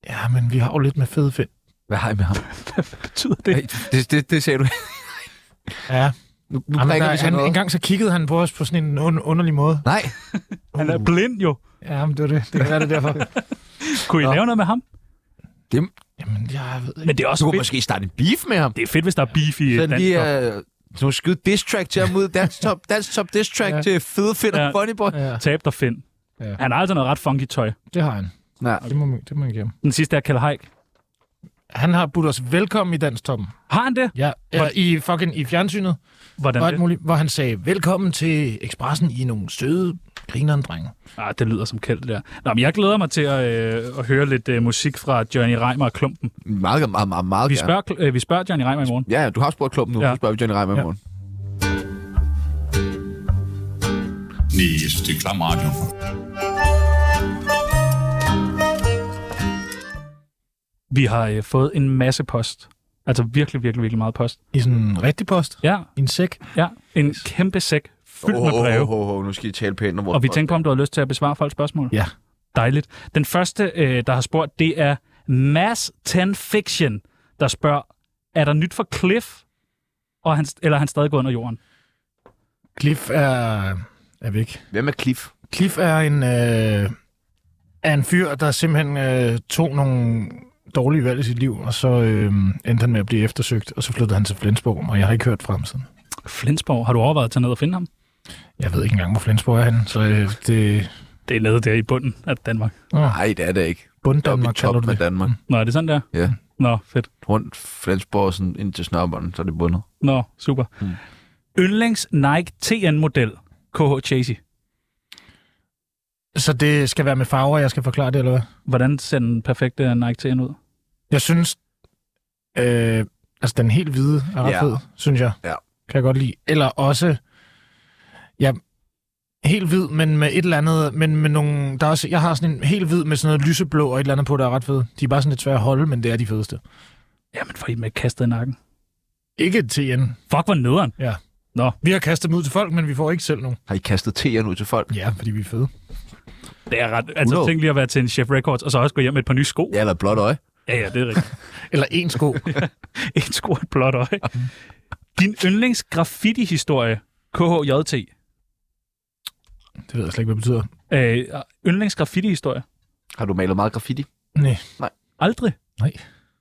Speaker 3: Ja, men vi har jo lidt med fede fedt.
Speaker 1: Hvad har I med ham?
Speaker 4: Hvad betyder det?
Speaker 1: Hey, det, det, det sagde du.
Speaker 3: Ja,
Speaker 1: Nu, nu
Speaker 3: Jamen,
Speaker 1: prikker vi
Speaker 3: der,
Speaker 1: sådan
Speaker 3: han, en
Speaker 1: noget.
Speaker 3: gang så kiggede han på os på sådan en un- underlig måde.
Speaker 1: Nej,
Speaker 3: uh.
Speaker 4: Han er blind jo.
Speaker 3: Ja, men det var det. Det kan være det derfor.
Speaker 4: Kunne I lave noget med ham?
Speaker 3: Jamen, jeg ved ikke.
Speaker 4: Men det er
Speaker 1: du
Speaker 4: også
Speaker 1: kunne
Speaker 4: fedt.
Speaker 1: måske starte en beef med ham.
Speaker 4: Det er fedt, hvis der er beef i et
Speaker 1: Sådan
Speaker 4: dansk
Speaker 1: lige
Speaker 4: top.
Speaker 1: øh, sådan nogle skyde diss track til ham ud. Dansk top, dansk top diss track
Speaker 3: Ja.
Speaker 1: til fede Finn og
Speaker 4: Ja.
Speaker 1: funny boy.
Speaker 3: Ja,
Speaker 4: Tab dig Finn.
Speaker 3: øh, Ja.
Speaker 4: Han har altså noget ret funky tøj.
Speaker 3: det har han.
Speaker 1: Nej.
Speaker 3: Det må, man- det må man give ham.
Speaker 4: Den sidste er Kjell Haik.
Speaker 3: Han har budt os velkommen i Danstoppen.
Speaker 4: Har han det?
Speaker 3: Ja, eller i fucking i fjernsynet.
Speaker 4: Hvordan
Speaker 3: og
Speaker 4: det?
Speaker 3: alt muligt, hvor han sagde, velkommen til Expressen i er nogle søde, grinerende drenge.
Speaker 4: Ah, det lyder som kæld, det der. Nå, men jeg glæder mig til at, øh, at høre lidt øh, musik fra Johnny Reimer og Klumpen.
Speaker 1: Meget, meget, meget, meget
Speaker 4: Vi
Speaker 1: gerne.
Speaker 4: spørger, øh, vi spørger Johnny Reimer i morgen.
Speaker 1: Ja, ja, du har spurgt klubben nu.
Speaker 4: Ja.
Speaker 1: Ja. Så spørger vi Johnny Reimer i
Speaker 3: Ja.
Speaker 1: morgen.
Speaker 9: Nej, jeg synes, det er klam radio.
Speaker 4: Vi har øh, fået en masse post. Altså virkelig, virkelig, virkelig meget post.
Speaker 3: I sådan en rigtig post.
Speaker 4: Ja,
Speaker 3: I en sæk.
Speaker 4: ja. En kæmpe sæk fyldt med breve.
Speaker 1: oh, oh, oh, nu skal I tale pænt om vores
Speaker 4: Og vi
Speaker 1: folk.
Speaker 4: tænkte på, om du har lyst til at besvare folks spørgsmål.
Speaker 3: Ja.
Speaker 4: Dejligt. Den første, øh, der har spurgt, det er Mass 10 Fiction, der spørger, er der nyt for Cliff, og er han, eller er han stadig gået under jorden?
Speaker 3: Cliff er, er væk.
Speaker 1: Hvem er Cliff?
Speaker 3: Cliff er en, øh, er en fyr, der simpelthen øh, tog nogle dårlige valg i sit liv, og så øh, endte han med at blive eftersøgt, og så flyttede han til Flensborg, og jeg har ikke hørt fra ham siden.
Speaker 4: Flensborg, har du overvejet at tage ned og finde ham?
Speaker 3: Jeg ved ikke engang, hvor Flensborg er henne, så øh, det...
Speaker 4: Det er nede der i bunden af Danmark.
Speaker 8: Nej, det er det ikke.
Speaker 3: Bunddanmark
Speaker 8: Top
Speaker 3: kalder du
Speaker 8: med
Speaker 3: det. Mm.
Speaker 8: Danmark.
Speaker 4: Nå, er det sådan der?
Speaker 8: Ja.
Speaker 4: Nå, fedt.
Speaker 8: Rundt Flensborg og sådan ind til snørbånden, så er det bundet.
Speaker 4: Nå, super. Mm. Yndlings Nike TN-model, KH Chasey.
Speaker 3: Så det skal være med farver, jeg skal forklare det, eller hvad?
Speaker 4: Hvordan ser den perfekte Nike TN ud?
Speaker 3: Jeg synes, øh, altså den helt hvide er ret
Speaker 8: Ja.
Speaker 3: ja. fed, synes jeg.
Speaker 8: Ja.
Speaker 3: Kan jeg godt lide. Eller også, ja, helt hvid, men med et eller andet, men med nogle, der er også, jeg har sådan en helt hvid med sådan noget lyseblå og et eller andet på, der er ret fed. De er bare sådan lidt svære at holde, men det er de fedeste.
Speaker 4: Jamen, for I med kastet i nakken.
Speaker 3: Ikke TN.
Speaker 4: Fuck, hvor nederen.
Speaker 3: Vi har kastet dem ud til folk, men vi får ikke selv nogen.
Speaker 8: Har I kastet T'eren ud til folk?
Speaker 3: Ja, fordi vi er fede.
Speaker 4: Det er ret... Altså,
Speaker 8: 100.
Speaker 4: tænk lige at være til en Chef Records, og så også gå hjem med et par nye sko.
Speaker 8: Ja, eller et blåt øje.
Speaker 4: Ja, ja, det er rigtigt.
Speaker 3: Eller en sko.
Speaker 4: en sko og et blåt øje. Din yndlings graffiti-historie, KHJT.
Speaker 3: det ved jeg slet ikke, hvad det betyder.
Speaker 4: Øh, yndlings graffiti-historie?
Speaker 8: Har du malet meget graffiti?
Speaker 3: Nej.
Speaker 4: Aldrig.
Speaker 3: Nej.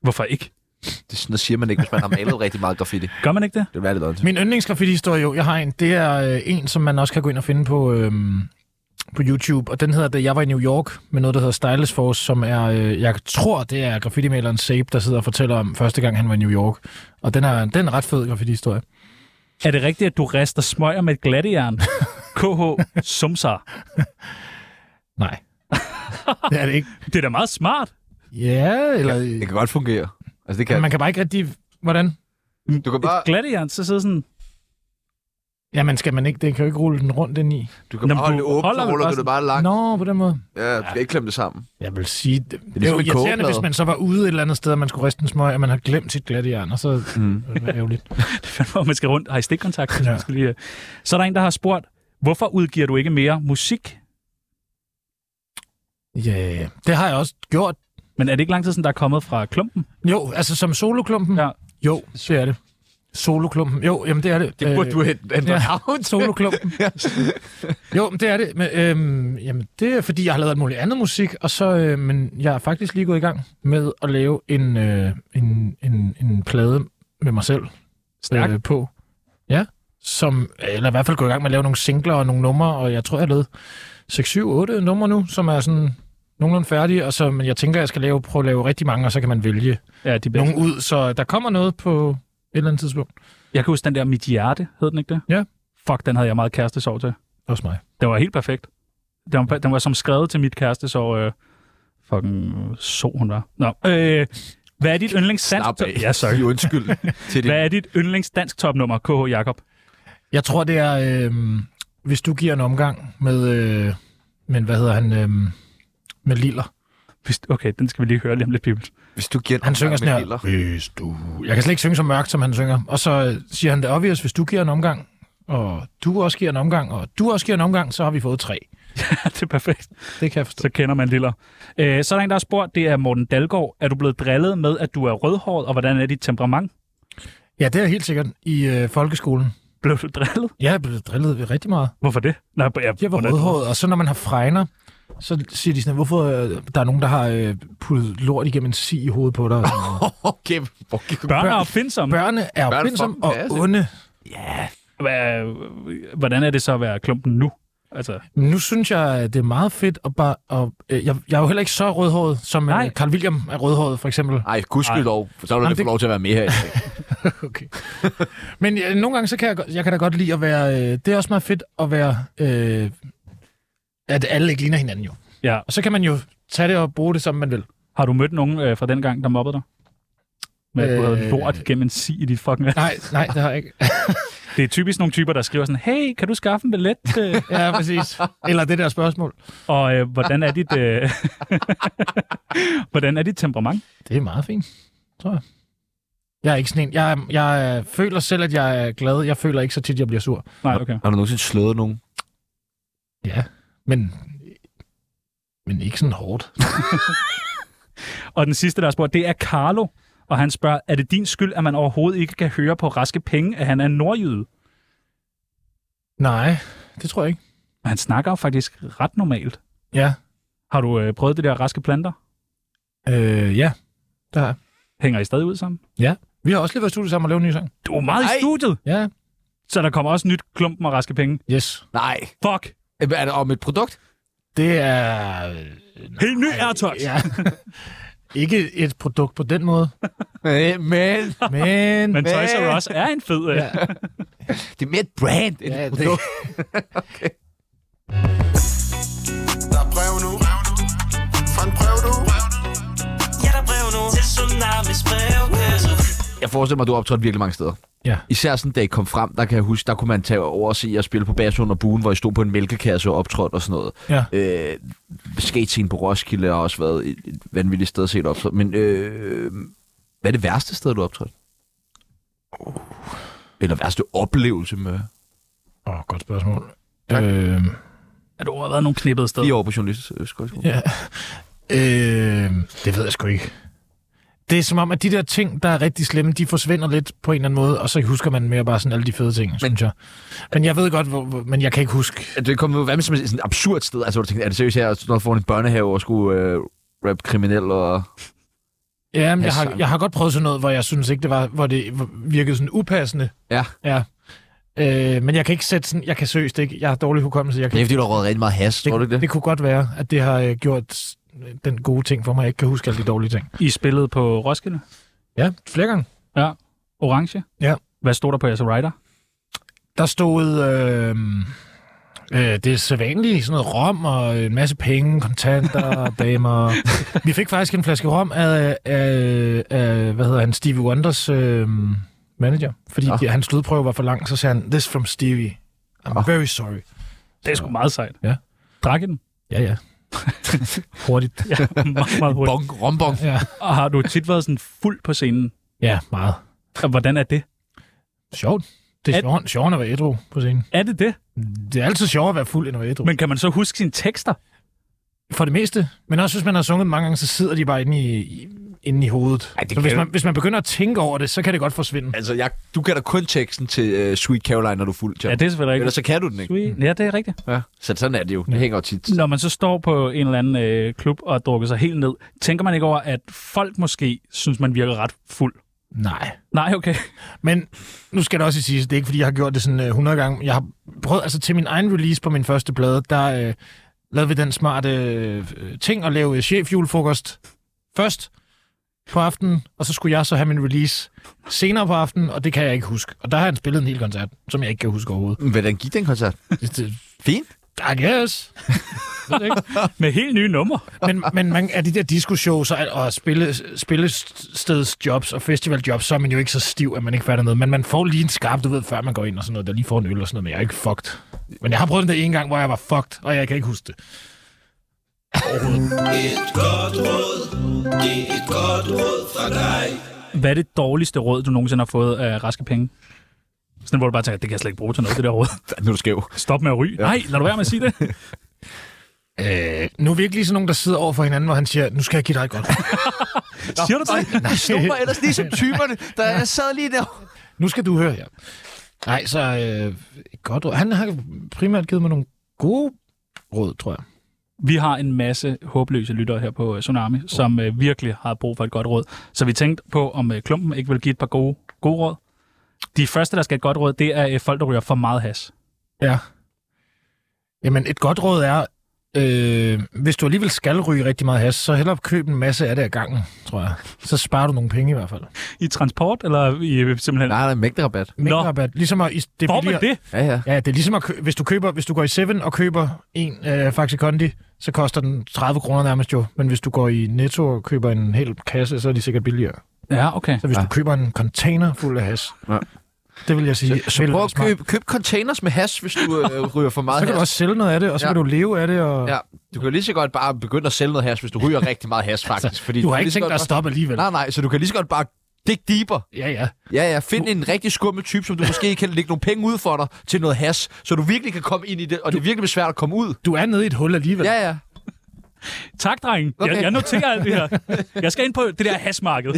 Speaker 4: Hvorfor ikke?
Speaker 8: Det er sådan, der siger man ikke, hvis man har malet rigtig meget graffiti.
Speaker 4: Gør man ikke det?
Speaker 8: Det er lidt ondt.
Speaker 3: Min yndlingsgraffiti-historie, jo, jeg har en, det er øh, en, som man også kan gå ind og finde på, øhm, på YouTube, og den hedder, da jeg var i New York, med noget, der hedder Stylus Force, som er, øh, jeg tror, det er graffitimaleren Sape, der sidder og fortæller om første gang, han var i New York. Og den er, den er en ret fed graffiti-historie.
Speaker 4: Er det rigtigt, at du rester smøger med et glattejern? KH Sumsar.
Speaker 3: Nej. det er det ikke.
Speaker 4: Det er da meget smart.
Speaker 3: Ja, eller...
Speaker 8: Det kan godt fungere. Altså, det kan...
Speaker 3: Ja, man kan bare ikke rigtig... Hvordan?
Speaker 8: Du kan bare,
Speaker 4: Et glattejern, så sidder sådan...
Speaker 3: Jamen, skal man ikke... Det kan jo ikke rulle den rundt ind i.
Speaker 8: du kan
Speaker 4: Nå,
Speaker 8: bare holde
Speaker 4: men
Speaker 8: det
Speaker 4: du
Speaker 8: åbent,
Speaker 4: holder
Speaker 8: så
Speaker 4: vel
Speaker 8: ruller
Speaker 4: bare
Speaker 8: du det bare langt.
Speaker 3: Nå, på den måde.
Speaker 8: Ja, du skal ikke klemme det sammen.
Speaker 3: Jeg vil sige, det, det, er
Speaker 8: ligesom
Speaker 3: jo
Speaker 8: en
Speaker 3: irriterende,
Speaker 8: kogeplade.
Speaker 3: hvis man så var ude et eller andet sted, og man skulle riste en smøg, og man har glemt sit glatte jern, og så mm. det er ærgerligt.
Speaker 4: hvor man skal rundt. Har I stikkontakt? Ja.
Speaker 3: Ja.
Speaker 4: Man skal lige... øh. Så er der en, der har spurgt, hvorfor udgiver du ikke mere musik?
Speaker 3: Ja, det har jeg også gjort.
Speaker 4: Men er det ikke lang tid siden, der er kommet fra klumpen?
Speaker 3: Jo, altså som soloklumpen?
Speaker 4: Ja.
Speaker 3: Jo, det er det. Soloklumpen. Jo, jamen det er det. Øh,
Speaker 8: Det burde du
Speaker 3: have.
Speaker 8: hente ændre
Speaker 3: Ja,
Speaker 8: navn.
Speaker 3: soloklumpen. Jo, men det er det. Men, øhm, jamen, det er, fordi jeg har lavet alt muligt andet musik, og så, øh, men jeg er faktisk lige gået i gang med at lave en, øh, en, en, en plade med mig selv øh,
Speaker 4: Stærkt.
Speaker 3: på. Ja, som, eller i hvert fald gået i gang med at lave nogle singler og nogle numre, og jeg tror, jeg har lavet 6, 7, 8 numre nu, som er sådan nogenlunde færdige, og så, men jeg tænker, jeg skal lave, prøve at lave rigtig mange, og så kan man vælge
Speaker 4: Ja, de bedste.
Speaker 3: nogen ud, så der kommer noget på et eller andet tidspunkt.
Speaker 4: Jeg kan huske den der Mit Hjerte, hed den ikke det?
Speaker 3: Ja.
Speaker 4: Fuck, den havde jeg meget kærestesov til.
Speaker 3: Også mig.
Speaker 4: Den var helt perfekt. Den var, den var som skrevet til mit kærestesov. Øh, fucking så hun var. Nå, øh, hvad er dit yndlings dansk
Speaker 8: Slap af.
Speaker 4: Ja, sorry.
Speaker 8: Sig undskyld til det.
Speaker 4: Hvad er dit yndlings dansk topnummer, KH Jakob?
Speaker 3: Jeg tror, det er, øh, hvis du giver en omgang med, øh, men hvad hedder han, øh, med Liller.
Speaker 4: Hvis- Okay, den skal vi lige høre lige om lidt, people.
Speaker 8: Hvis du giver en
Speaker 3: Han synger
Speaker 8: omgang med
Speaker 3: sådan
Speaker 8: Hitler.
Speaker 3: her. Hvis du... Jeg kan slet ikke synge så mørkt, som han synger. Og så øh, siger han det obvious, hvis du giver en omgang, og du også giver en omgang, og du også giver en omgang, så har vi fået tre.
Speaker 4: det er perfekt.
Speaker 3: Det kan jeg forstå.
Speaker 4: Så kender man Liller. Øh, så er der en, der har spurgt, det er Morten Dalgaard. Er du blevet drillet med, at du er rødhåret, og hvordan er dit temperament?
Speaker 3: Ja, det er helt sikkert i øh, folkeskolen.
Speaker 4: Blev du drillet?
Speaker 3: Ja, jeg blev drillet rigtig meget.
Speaker 4: Hvorfor det? Nej, jeg,
Speaker 3: Jeg var
Speaker 4: hvordan-
Speaker 3: rødhåret, og så når man har fregner, så siger de sådan, hvorfor øh, der er nogen, der har øh, puttet lort igennem en si i hovedet på dig. Og sådan noget.
Speaker 8: Okay, hvor gik-
Speaker 4: Børn er opfindsomme.
Speaker 3: Børnene er
Speaker 8: Børn
Speaker 3: opfindsomme
Speaker 8: får
Speaker 3: og
Speaker 8: en masse.
Speaker 3: onde.
Speaker 4: Hva- Hvordan er det så at være klumpen nu? Altså,
Speaker 3: Nu synes jeg, at det er meget fedt at bare... Og, øh, jeg, jeg er jo heller ikke så rødhåret, som
Speaker 4: Nej.
Speaker 3: øh, Carl William er rødhåret, for eksempel.
Speaker 8: Ej, gudskelov. Så har du
Speaker 3: Jamen,
Speaker 8: ikke fået
Speaker 3: det-
Speaker 8: lov til at være med her. i dag.
Speaker 3: Ah, Okay. Men øh, nogle gange, så kan jeg, godt- jeg kan da godt lide at være... Øh, det er også meget fedt at være... Øh, at alle ikke ligner hinanden jo.
Speaker 4: ja.
Speaker 3: Og så kan man jo tage det og bruge det, som man vil.
Speaker 4: Har du mødt nogen øh, fra den gang, der mobbede dig? Med at du havde
Speaker 3: Øh.
Speaker 4: lort gennem en si i dit fucking...
Speaker 3: Nej, nej, det har jeg ikke.
Speaker 4: Det er typisk nogle typer, der skriver sådan, hey, kan du skaffe en billet? Øh,
Speaker 3: Ja, præcis. Eller det der spørgsmål.
Speaker 4: og øh, hvordan er dit... Øh... hvordan er dit temperament?
Speaker 3: Det er meget fint, tror jeg. Jeg er ikke sådan en. Jeg, jeg føler selv, at jeg er glad. Jeg føler ikke så tit, jeg bliver sur.
Speaker 4: Nej, okay.
Speaker 8: Har du nogensinde slået nogen?
Speaker 3: Ja, men, men ikke sådan hårdt.
Speaker 4: Og den sidste, der har spurgt, det er Carlo. Og han spørger, er det din skyld, at man overhovedet ikke kan høre på raske penge, at han er en nordjyde?
Speaker 3: Nej, det tror jeg ikke.
Speaker 4: Men han snakker jo faktisk ret normalt.
Speaker 3: Ja,
Speaker 4: Har du øh, prøvet det der raske planter?
Speaker 3: øh, ja. det har jeg.
Speaker 4: Hænger I stadig ud sammen?
Speaker 3: Ja. Vi har også lige været i studiet sammen og lavet en ny sang.
Speaker 4: Du er meget
Speaker 1: Nej.
Speaker 4: i studiet.
Speaker 3: Ja.
Speaker 4: Så der kommer også nyt klumpen og raske penge.
Speaker 3: Yes.
Speaker 1: Nej.
Speaker 4: Fuck.
Speaker 1: Er det om et produkt?
Speaker 3: Det er...
Speaker 4: Helt ny AirTouch.
Speaker 3: Ja. Ikke et produkt på den måde,
Speaker 1: Øh, Men
Speaker 3: men...
Speaker 4: Men Toys
Speaker 1: Men-
Speaker 4: R Us er en fed... øh, Ja.
Speaker 3: Ja.
Speaker 1: det er mere et brand end
Speaker 3: Ja,
Speaker 1: et
Speaker 3: det-
Speaker 1: produkt.
Speaker 5: Der er brev nu Fra en brev du
Speaker 6: Ja, der er brev nu til Tsunamis brevkasse.
Speaker 1: Jeg forestiller mig, du har optrådt virkelig mange steder.
Speaker 3: Ja.
Speaker 1: Især sådan, da I kom frem, der kan jeg huske, der kunne man tage over og se jer spille på Basun og Buen, hvor I stod på en mælkekasse og optrådte og sådan noget.
Speaker 3: Ja.
Speaker 1: Øh, skate på Roskilde har også været et, et vanvittigt sted at se et optræde. Men øh, hvad er det værste sted, du har optrådt?
Speaker 8: Oh.
Speaker 1: Eller værste oplevelse med?
Speaker 3: Åh, oh, godt spørgsmål. Øh,
Speaker 4: At du har været nogle knippede steder.
Speaker 1: Lige over på journalisthøjskolen.
Speaker 3: ja. øh, det ved jeg sgu ikke. Det er som om, at de der ting, der er rigtig slemme, de forsvinder lidt på en eller anden måde, og så husker man mere bare sådan alle de fede ting, men, synes jeg. Men jeg ved godt, hvor, hvor, men jeg kan ikke huske.
Speaker 1: Det er kommet, hvad med sådan et absurd sted? Altså, hvor du tænkte, er det seriøst her, at du får en børnehave og skulle øh, rap kriminel og...
Speaker 3: Ja, men jeg, har,
Speaker 1: sang.
Speaker 3: jeg har godt prøvet sådan noget, hvor jeg synes ikke, det var, hvor det virkede sådan upassende.
Speaker 1: Ja.
Speaker 3: Ja. Øh, men jeg kan ikke sætte sådan, jeg kan seriøst ikke, jeg har dårlig hukommelse, jeg kan
Speaker 1: Det er fordi, du har røget rigtig meget has, tror du ikke det?
Speaker 3: Det kunne godt være, at det har øh, gjort s- den gode ting for mig. Jeg ikke kan huske alle de dårlige ting.
Speaker 4: I spillede på Roskilde.
Speaker 3: Ja, flere gange.
Speaker 4: Ja. Orange.
Speaker 3: Ja.
Speaker 4: Hvad stod der på jeres rider?
Speaker 3: Der stod øh, øh, det sædvanlige, sådan noget rom og en masse penge, kontanter, damer. Vi fik faktisk en flaske rom af, af, af hvad hedder han, Stevie Wonders øh, manager. Fordi
Speaker 1: Nå.
Speaker 3: ja. hans lydprøve var for lang, så sagde han, this from Stevie. I'm very sorry.
Speaker 4: Det er sgu meget sejt.
Speaker 3: Ja.
Speaker 4: Drak I den?
Speaker 3: Ja, ja. Hurtigt.
Speaker 4: Ja, meget, meget hurtigt.
Speaker 1: Bong, rombong.
Speaker 3: Ja.
Speaker 4: Og har du tit været sådan fuld på scenen?
Speaker 3: ja, meget.
Speaker 4: Og Hvordan er det?
Speaker 3: Sjovt. Det er
Speaker 4: At-
Speaker 3: sjovt, sjovt at være ædru på scenen.
Speaker 4: Er det det?
Speaker 3: Det er altid sjovere at være fuld end at være ædru.
Speaker 4: Men kan man så huske sine tekster?
Speaker 3: For det meste. Men også hvis man har sunget mange gange, så sidder de bare inde i, i- inde i hovedet. Ej, så hvis man, hvis man begynder at tænke over det, så kan det godt forsvinde.
Speaker 1: Altså, jeg, du kan da kun teksten til øh, Sweet Caroline, når du er fuld, John.
Speaker 4: Ja, det er selvfølgelig
Speaker 1: Ellers
Speaker 4: rigtigt.
Speaker 1: så kan du den ikke. Mm.
Speaker 4: Sweet. Ja, det er rigtigt.
Speaker 1: Ja. Så sådan er det jo. Det hænger jo tit.
Speaker 4: Når man så står på en eller anden øh, klub og drukker sig helt ned, tænker man ikke over, at folk måske synes, man virker ret fuld?
Speaker 3: Nej.
Speaker 4: Nej, okay.
Speaker 3: Men nu skal det også siges, det er ikke fordi, jeg har gjort det sådan øh, 100 gange. Jeg har prøvet, altså til min egen release på min første plade, der øh, lavede vi den smarte øh, øh, ting at lave chefjulefrokost først på aftenen, og så skulle jeg så have min release senere på aftenen, og det kan jeg ikke huske. Og der har han spillet en hel koncert, som jeg ikke kan huske overhovedet.
Speaker 1: Hvordan gik den koncert?
Speaker 3: Det, det,
Speaker 1: Fint.
Speaker 3: I guess. Ved det ikke.
Speaker 4: Med helt nye numre.
Speaker 3: men, men man, er de der disco-shows og, og spille, spillestedsjobs og festivaljobs, så er man jo ikke så stiv, at man ikke fatter noget. Men man får lige en skarp, du ved, før man går ind og sådan noget, der lige får en øl og sådan noget, men jeg er ikke fucked. Men jeg har prøvet den der en gang, hvor jeg var fucked, og jeg kan ikke huske det.
Speaker 10: Et godt råd, det er et godt råd fra dig.
Speaker 4: Hvad er det dårligste råd, du nogensinde har fået af raske penge? Sådan, hvor du bare tænker, det kan jeg slet ikke bruge til noget, det der råd.
Speaker 1: Nu er du skæv.
Speaker 4: Stop med at ryge. Ja. Nej, lad du være med at sige det.
Speaker 3: Øh, nu er vi ikke lige sådan nogen, der sidder over for hinanden, hvor han siger, nu skal jeg give dig et godt råd.
Speaker 4: Siger du det?
Speaker 1: Jeg stod mig ellers lige som typerne, der jeg sad lige der.
Speaker 3: Nu skal du høre her. Nej, så øh, et godt råd. Han har primært givet mig nogle gode råd, tror jeg.
Speaker 4: Vi har en masse håbløse lyttere her på øh, Tsunami, som øh, virkelig har brug for et godt råd. Så vi tænkte på, om øh, klumpen ikke vil give et par gode, gode råd. De første, der skal have et godt råd, det er øh, folk, der ryger for meget has.
Speaker 3: Ja. Jamen, et godt råd er, øh, hvis du alligevel skal ryge rigtig meget has, så hellere køb en masse af det ad gangen, tror jeg. Så sparer du nogle penge i hvert fald.
Speaker 4: I transport, eller i øh, simpelthen...
Speaker 1: Nej, der er en mægterabat.
Speaker 3: Mængderabat. Ligesom at, is- det er
Speaker 4: Får man
Speaker 3: billigere-
Speaker 4: det?
Speaker 1: Ja, ja.
Speaker 3: Ja, det er ligesom at kø- hvis du køber, hvis du går i Seven og køber en øh, Faxe Kondi, så koster den 30 kroner nærmest jo. Men hvis du går i Netto og køber en hel kasse, så er de sikkert billigere.
Speaker 4: Ja, okay.
Speaker 3: Så hvis ja. du køber en container fuld af has,
Speaker 1: Ja.
Speaker 3: ja. det vil jeg sige.
Speaker 1: Så
Speaker 3: vil
Speaker 1: prøv
Speaker 3: være
Speaker 1: at
Speaker 3: smart.
Speaker 1: købe, køb containers med has, hvis du øh, ryger for meget
Speaker 3: Så kan du
Speaker 1: has.
Speaker 3: også sælge noget af det, og så
Speaker 1: Ja.
Speaker 3: ja. kan du leve af det. Og...
Speaker 1: Ja, du kan lige så godt bare begynde at sælge noget has, hvis du ryger rigtig meget has, faktisk. Fordi
Speaker 3: Du har
Speaker 1: kan
Speaker 3: ikke
Speaker 1: lige så
Speaker 3: tænkt dig
Speaker 1: godt
Speaker 3: at stoppe alligevel.
Speaker 1: Bare... Nej, nej, så du kan lige så godt bare dig deeper.
Speaker 3: Ja, ja.
Speaker 1: Ja, ja, find en rigtig skummel type, som du måske kan lægge nogle penge ud for dig til noget has, så du virkelig kan komme ind i det, og det virkelig bliver svært at komme ud.
Speaker 3: Du er nede i et hul alligevel.
Speaker 1: Ja, ja.
Speaker 4: Tak, drengen. Okay.
Speaker 1: Okay.
Speaker 4: Jeg, jeg noterer alt det her. Jeg skal ind på det der hasmarked.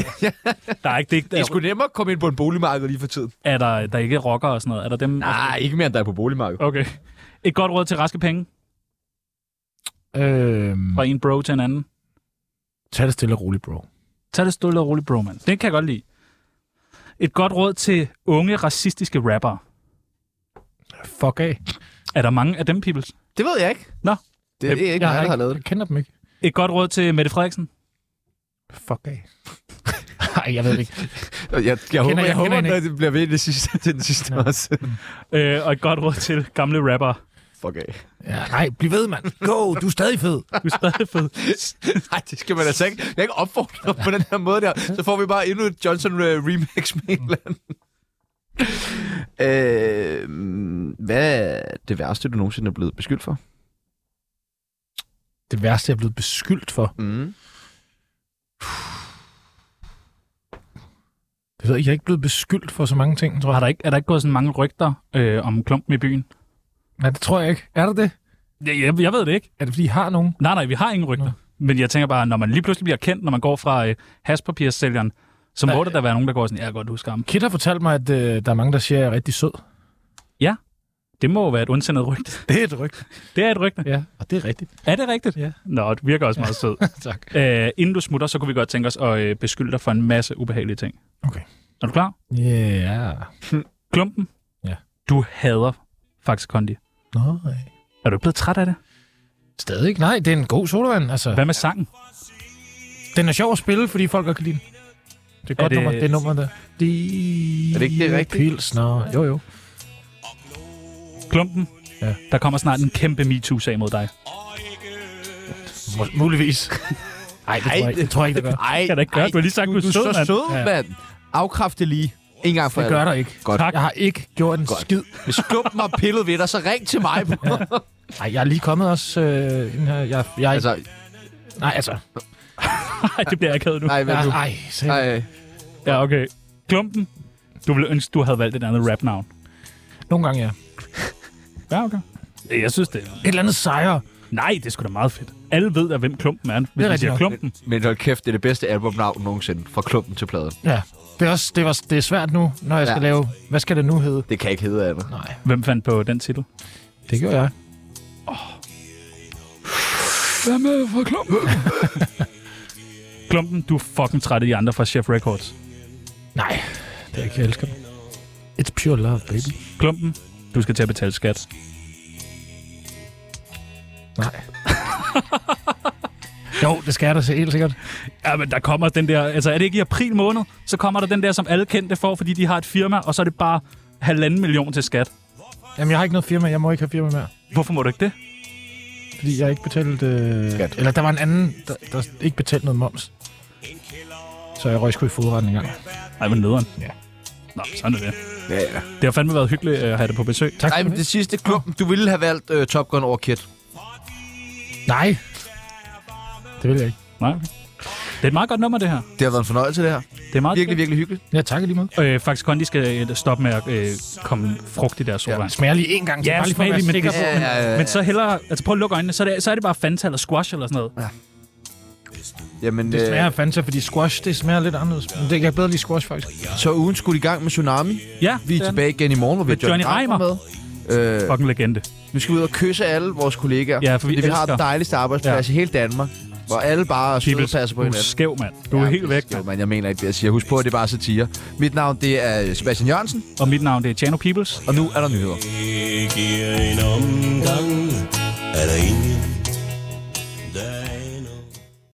Speaker 4: Der er ikke, det, er
Speaker 1: Det er
Speaker 4: ikke-
Speaker 1: sgu nemmere at komme ind på en boligmarked lige for tiden.
Speaker 4: er der, der er ikke rocker og sådan noget? Er der dem?
Speaker 1: Nej, ikke mere end der er på boligmarkedet.
Speaker 4: Okay. Et godt råd til raske penge
Speaker 3: Øhm,
Speaker 4: fra en bro til en anden.
Speaker 3: tag det Øhm, stille og roligt, bro.
Speaker 4: Tag det stille og roligt, bro, man. Det kan jeg godt lide. Et godt råd til unge racistiske rappere.
Speaker 3: Fuck af.
Speaker 4: Er der mange af dem, peoples?
Speaker 1: Det ved jeg ikke.
Speaker 4: Nå.
Speaker 1: Det, det er ikke
Speaker 3: jeg
Speaker 1: mig, der har lavet det.
Speaker 3: Jeg kender dem ikke.
Speaker 4: Et godt råd til Mette Frederiksen.
Speaker 3: Fuck af. Nej, jeg ved det ikke.
Speaker 1: Jeg, jeg, jeg håber, jeg,
Speaker 3: jeg kender
Speaker 1: håber,
Speaker 3: hende
Speaker 1: at det bliver ved i det sidste, til den sidste
Speaker 3: Nå.
Speaker 1: også.
Speaker 4: Øh, og et godt råd til gamle rappere.
Speaker 1: Fuck af.
Speaker 3: Ja, nej, bliv ved, mand. Go, du er stadig fed.
Speaker 4: Du er stadig fed.
Speaker 1: Nej, det skal man altså ikke. Jeg kan ikke opfordre dig på den her måde der. Så får vi bare endnu et Johnson øh, remix med en eller anden. Øh, hvad er det værste, du nogensinde er blevet beskyldt for?
Speaker 3: Det værste, jeg er blevet beskyldt for.
Speaker 1: Mm.
Speaker 3: Det ved jeg, ikke. jeg er ikke blevet beskyldt for så mange ting, tror
Speaker 4: Har
Speaker 3: jeg.
Speaker 4: der ikke, er der ikke gået sådan mange rygter øh, om klumpen i byen?
Speaker 3: Nej, det tror jeg ikke. Er der det?
Speaker 4: Jeg, jeg, jeg ved det ikke.
Speaker 3: Er det, fordi I har nogen?
Speaker 4: Nej, nej, vi har ingen rygter. Men jeg tænker bare, når man lige pludselig bliver kendt, når man går fra øh, haspapirsælgeren, så må der da være nogen, der går sådan, jeg kan godt huske ham.
Speaker 3: Kit har fortalt mig, at øh, der er mange, der siger, at jeg er rigtig sød.
Speaker 4: Det må jo være et ondsindet rygte.
Speaker 3: Det er et rygte.
Speaker 4: Det er et rygte.
Speaker 3: Ja, og det er rigtigt.
Speaker 4: Er det rigtigt?
Speaker 3: Ja.
Speaker 4: Nå, det virker også meget sød.
Speaker 3: tak.
Speaker 4: Æ, Øh, inden du smutter, så kunne vi godt tænke os at øh, beskylde dig for en masse ubehagelige ting.
Speaker 3: Okay.
Speaker 4: Er du klar?
Speaker 3: Ja. Yeah.
Speaker 4: Klumpen?
Speaker 3: Ja.
Speaker 4: Du hader Faxe Kondi.
Speaker 3: Nej.
Speaker 4: Er du ikke blevet træt af det?
Speaker 3: øh. Stadig ikke. Nej, det er en god sodavand. Altså,
Speaker 4: Hvad med sangen?
Speaker 3: den er sjov at spille, fordi folk godt kan lide den. Det er et godt
Speaker 4: det-
Speaker 3: det... nummer, det nummer der. De...
Speaker 1: Er det ikke det rigtige?
Speaker 3: Pilsner. Jo, jo.
Speaker 4: Klumpen?
Speaker 3: Ja.
Speaker 4: Der kommer snart en kæmpe MeToo-sag mod dig.
Speaker 3: Mu- muligvis. Nej, det, tror jeg ikke. det tror jeg ikke, det gør.
Speaker 1: Ej,
Speaker 4: kan da ikke gøre. Du har lige sagt, du er
Speaker 1: du er
Speaker 4: sød,
Speaker 1: så
Speaker 4: mand.
Speaker 1: sød,
Speaker 3: Ja.
Speaker 1: mand. Afkræft det lige. En gang for
Speaker 3: Det gør der ikke.
Speaker 1: Godt.
Speaker 3: Jeg har ikke gjort en
Speaker 1: Godt.
Speaker 3: skid.
Speaker 1: Hvis skumpen har pillet ved dig, så ring til mig. Ja.
Speaker 3: Nej, jeg er lige kommet også øh, ind her. Jeg, jeg, altså,
Speaker 1: altså,
Speaker 3: nej, altså.
Speaker 4: Nej, det bliver akavet nu.
Speaker 1: nej, hvad
Speaker 3: Jeg,
Speaker 1: nu?
Speaker 3: ej, selv.
Speaker 1: Nej,
Speaker 4: Ja, okay. Klumpen? Du ville ønske, du havde valgt et andet rap-navn.
Speaker 3: Nogle gange, ja.
Speaker 4: Ja, okay. Jeg synes, det er...
Speaker 3: Et eller andet sejre.
Speaker 4: Nej, det er sgu da meget fedt. Alle ved, at hvem klumpen er, hvis
Speaker 3: rigtigt
Speaker 4: vi siger
Speaker 3: nok.
Speaker 4: klumpen.
Speaker 1: men hold kæft, det er det bedste albumnavn nogensinde. Fra klumpen til pladen.
Speaker 3: Ja. Det er, også, det, er også, det er svært nu, når jeg skal
Speaker 1: Ja.
Speaker 3: lave... Hvad skal det nu hedde?
Speaker 1: Det kan ikke hedde andet.
Speaker 3: Nej,
Speaker 4: Hvem fandt på den titel?
Speaker 3: det gjorde jeg.
Speaker 4: Hvad med for klumpen? klumpen, du er fucking træt af de andre fra Chef Records.
Speaker 3: Nej, det er ikke, jeg elsker dem. It's pure love, baby.
Speaker 4: Klumpen, du skal til at betale skat.
Speaker 3: Nej. jo, det skal jeg da se, helt sikkert.
Speaker 4: Ja, men der kommer den der... Altså, er det ikke i april måned? Så kommer der den der, som alle kendte får, fordi de har et firma, og så er det bare halvanden million til skat.
Speaker 3: Jamen, jeg har ikke noget firma. Jeg må ikke have firma mere.
Speaker 4: Hvorfor må du ikke det?
Speaker 3: Fordi jeg ikke betalte... Øh,
Speaker 1: Skat.
Speaker 3: eller der var en anden, der, der ikke betalte noget moms. Så jeg røg sgu i fodretten en gang.
Speaker 4: Nej, men nederen.
Speaker 3: Ja.
Speaker 4: Nå, sådan er det.
Speaker 1: Ja, ja.
Speaker 4: Det har fandme været hyggeligt øh, at have dig på besøg.
Speaker 3: Tak
Speaker 1: Nej,
Speaker 3: for
Speaker 1: men
Speaker 3: det.
Speaker 1: det sidste klumpen. Du ville have valgt uh, Top Gun over Kid.
Speaker 3: Nej. Det vil jeg ikke.
Speaker 4: Nej. Det er et meget godt nummer, det her.
Speaker 1: Det har været en fornøjelse, det her.
Speaker 4: Det er meget
Speaker 1: Virkelig, virkelig hyggeligt.
Speaker 3: Jeg takker lige meget.
Speaker 4: Øh, faktisk kun, de skal øh, stoppe med at øh, komme frugt i deres sodavand.
Speaker 3: Smager lige en gang til.
Speaker 4: Ja,
Speaker 3: bare lige for at
Speaker 4: smag
Speaker 3: være
Speaker 4: lige, men
Speaker 3: sikker
Speaker 4: det-
Speaker 3: på.
Speaker 1: Ja, ja, ja.
Speaker 4: Men så hellere, altså prøv at lukke øjnene, så er det, så er det bare Fanta eller squash eller sådan noget.
Speaker 1: Jamen,
Speaker 3: Det
Speaker 1: øh,
Speaker 3: smager af Fanta, fordi squash, det smager lidt anderledes. Men det, jeg kan bedre lide squash, faktisk.
Speaker 1: øh, Så er ugen skulle i gang med Tsunami.
Speaker 4: Ja,
Speaker 1: Vi er
Speaker 4: det er
Speaker 1: tilbage igen i morgen, hvor vi
Speaker 4: Med
Speaker 1: har Johnny
Speaker 4: Johnny
Speaker 1: Reimer med.
Speaker 4: den.
Speaker 1: Øh,
Speaker 4: Fucking legende.
Speaker 1: nu skal vi ud og kysse alle vores kollegaer.
Speaker 4: Ja, for vi
Speaker 1: fordi vi har
Speaker 4: elsker-
Speaker 1: den dejligste arbejdsplads ja. i hele Danmark, hvor alle bare er søde og
Speaker 4: Peoples,
Speaker 1: passer på
Speaker 4: du er
Speaker 1: hinanden.
Speaker 4: skæv, mand. Du er
Speaker 1: Ja,
Speaker 4: helt
Speaker 1: det
Speaker 4: væk,
Speaker 1: skal
Speaker 4: mand.
Speaker 1: man. Jeg mener ikke det, jeg siger. Husk på, at det er bare satire. Mit navn, det er øh, Sebastian Jørgensen,
Speaker 4: Og mit navn, det er Chano Peoples.
Speaker 1: og nu er der nyheder.
Speaker 11: Ikke i en omgang er der ingen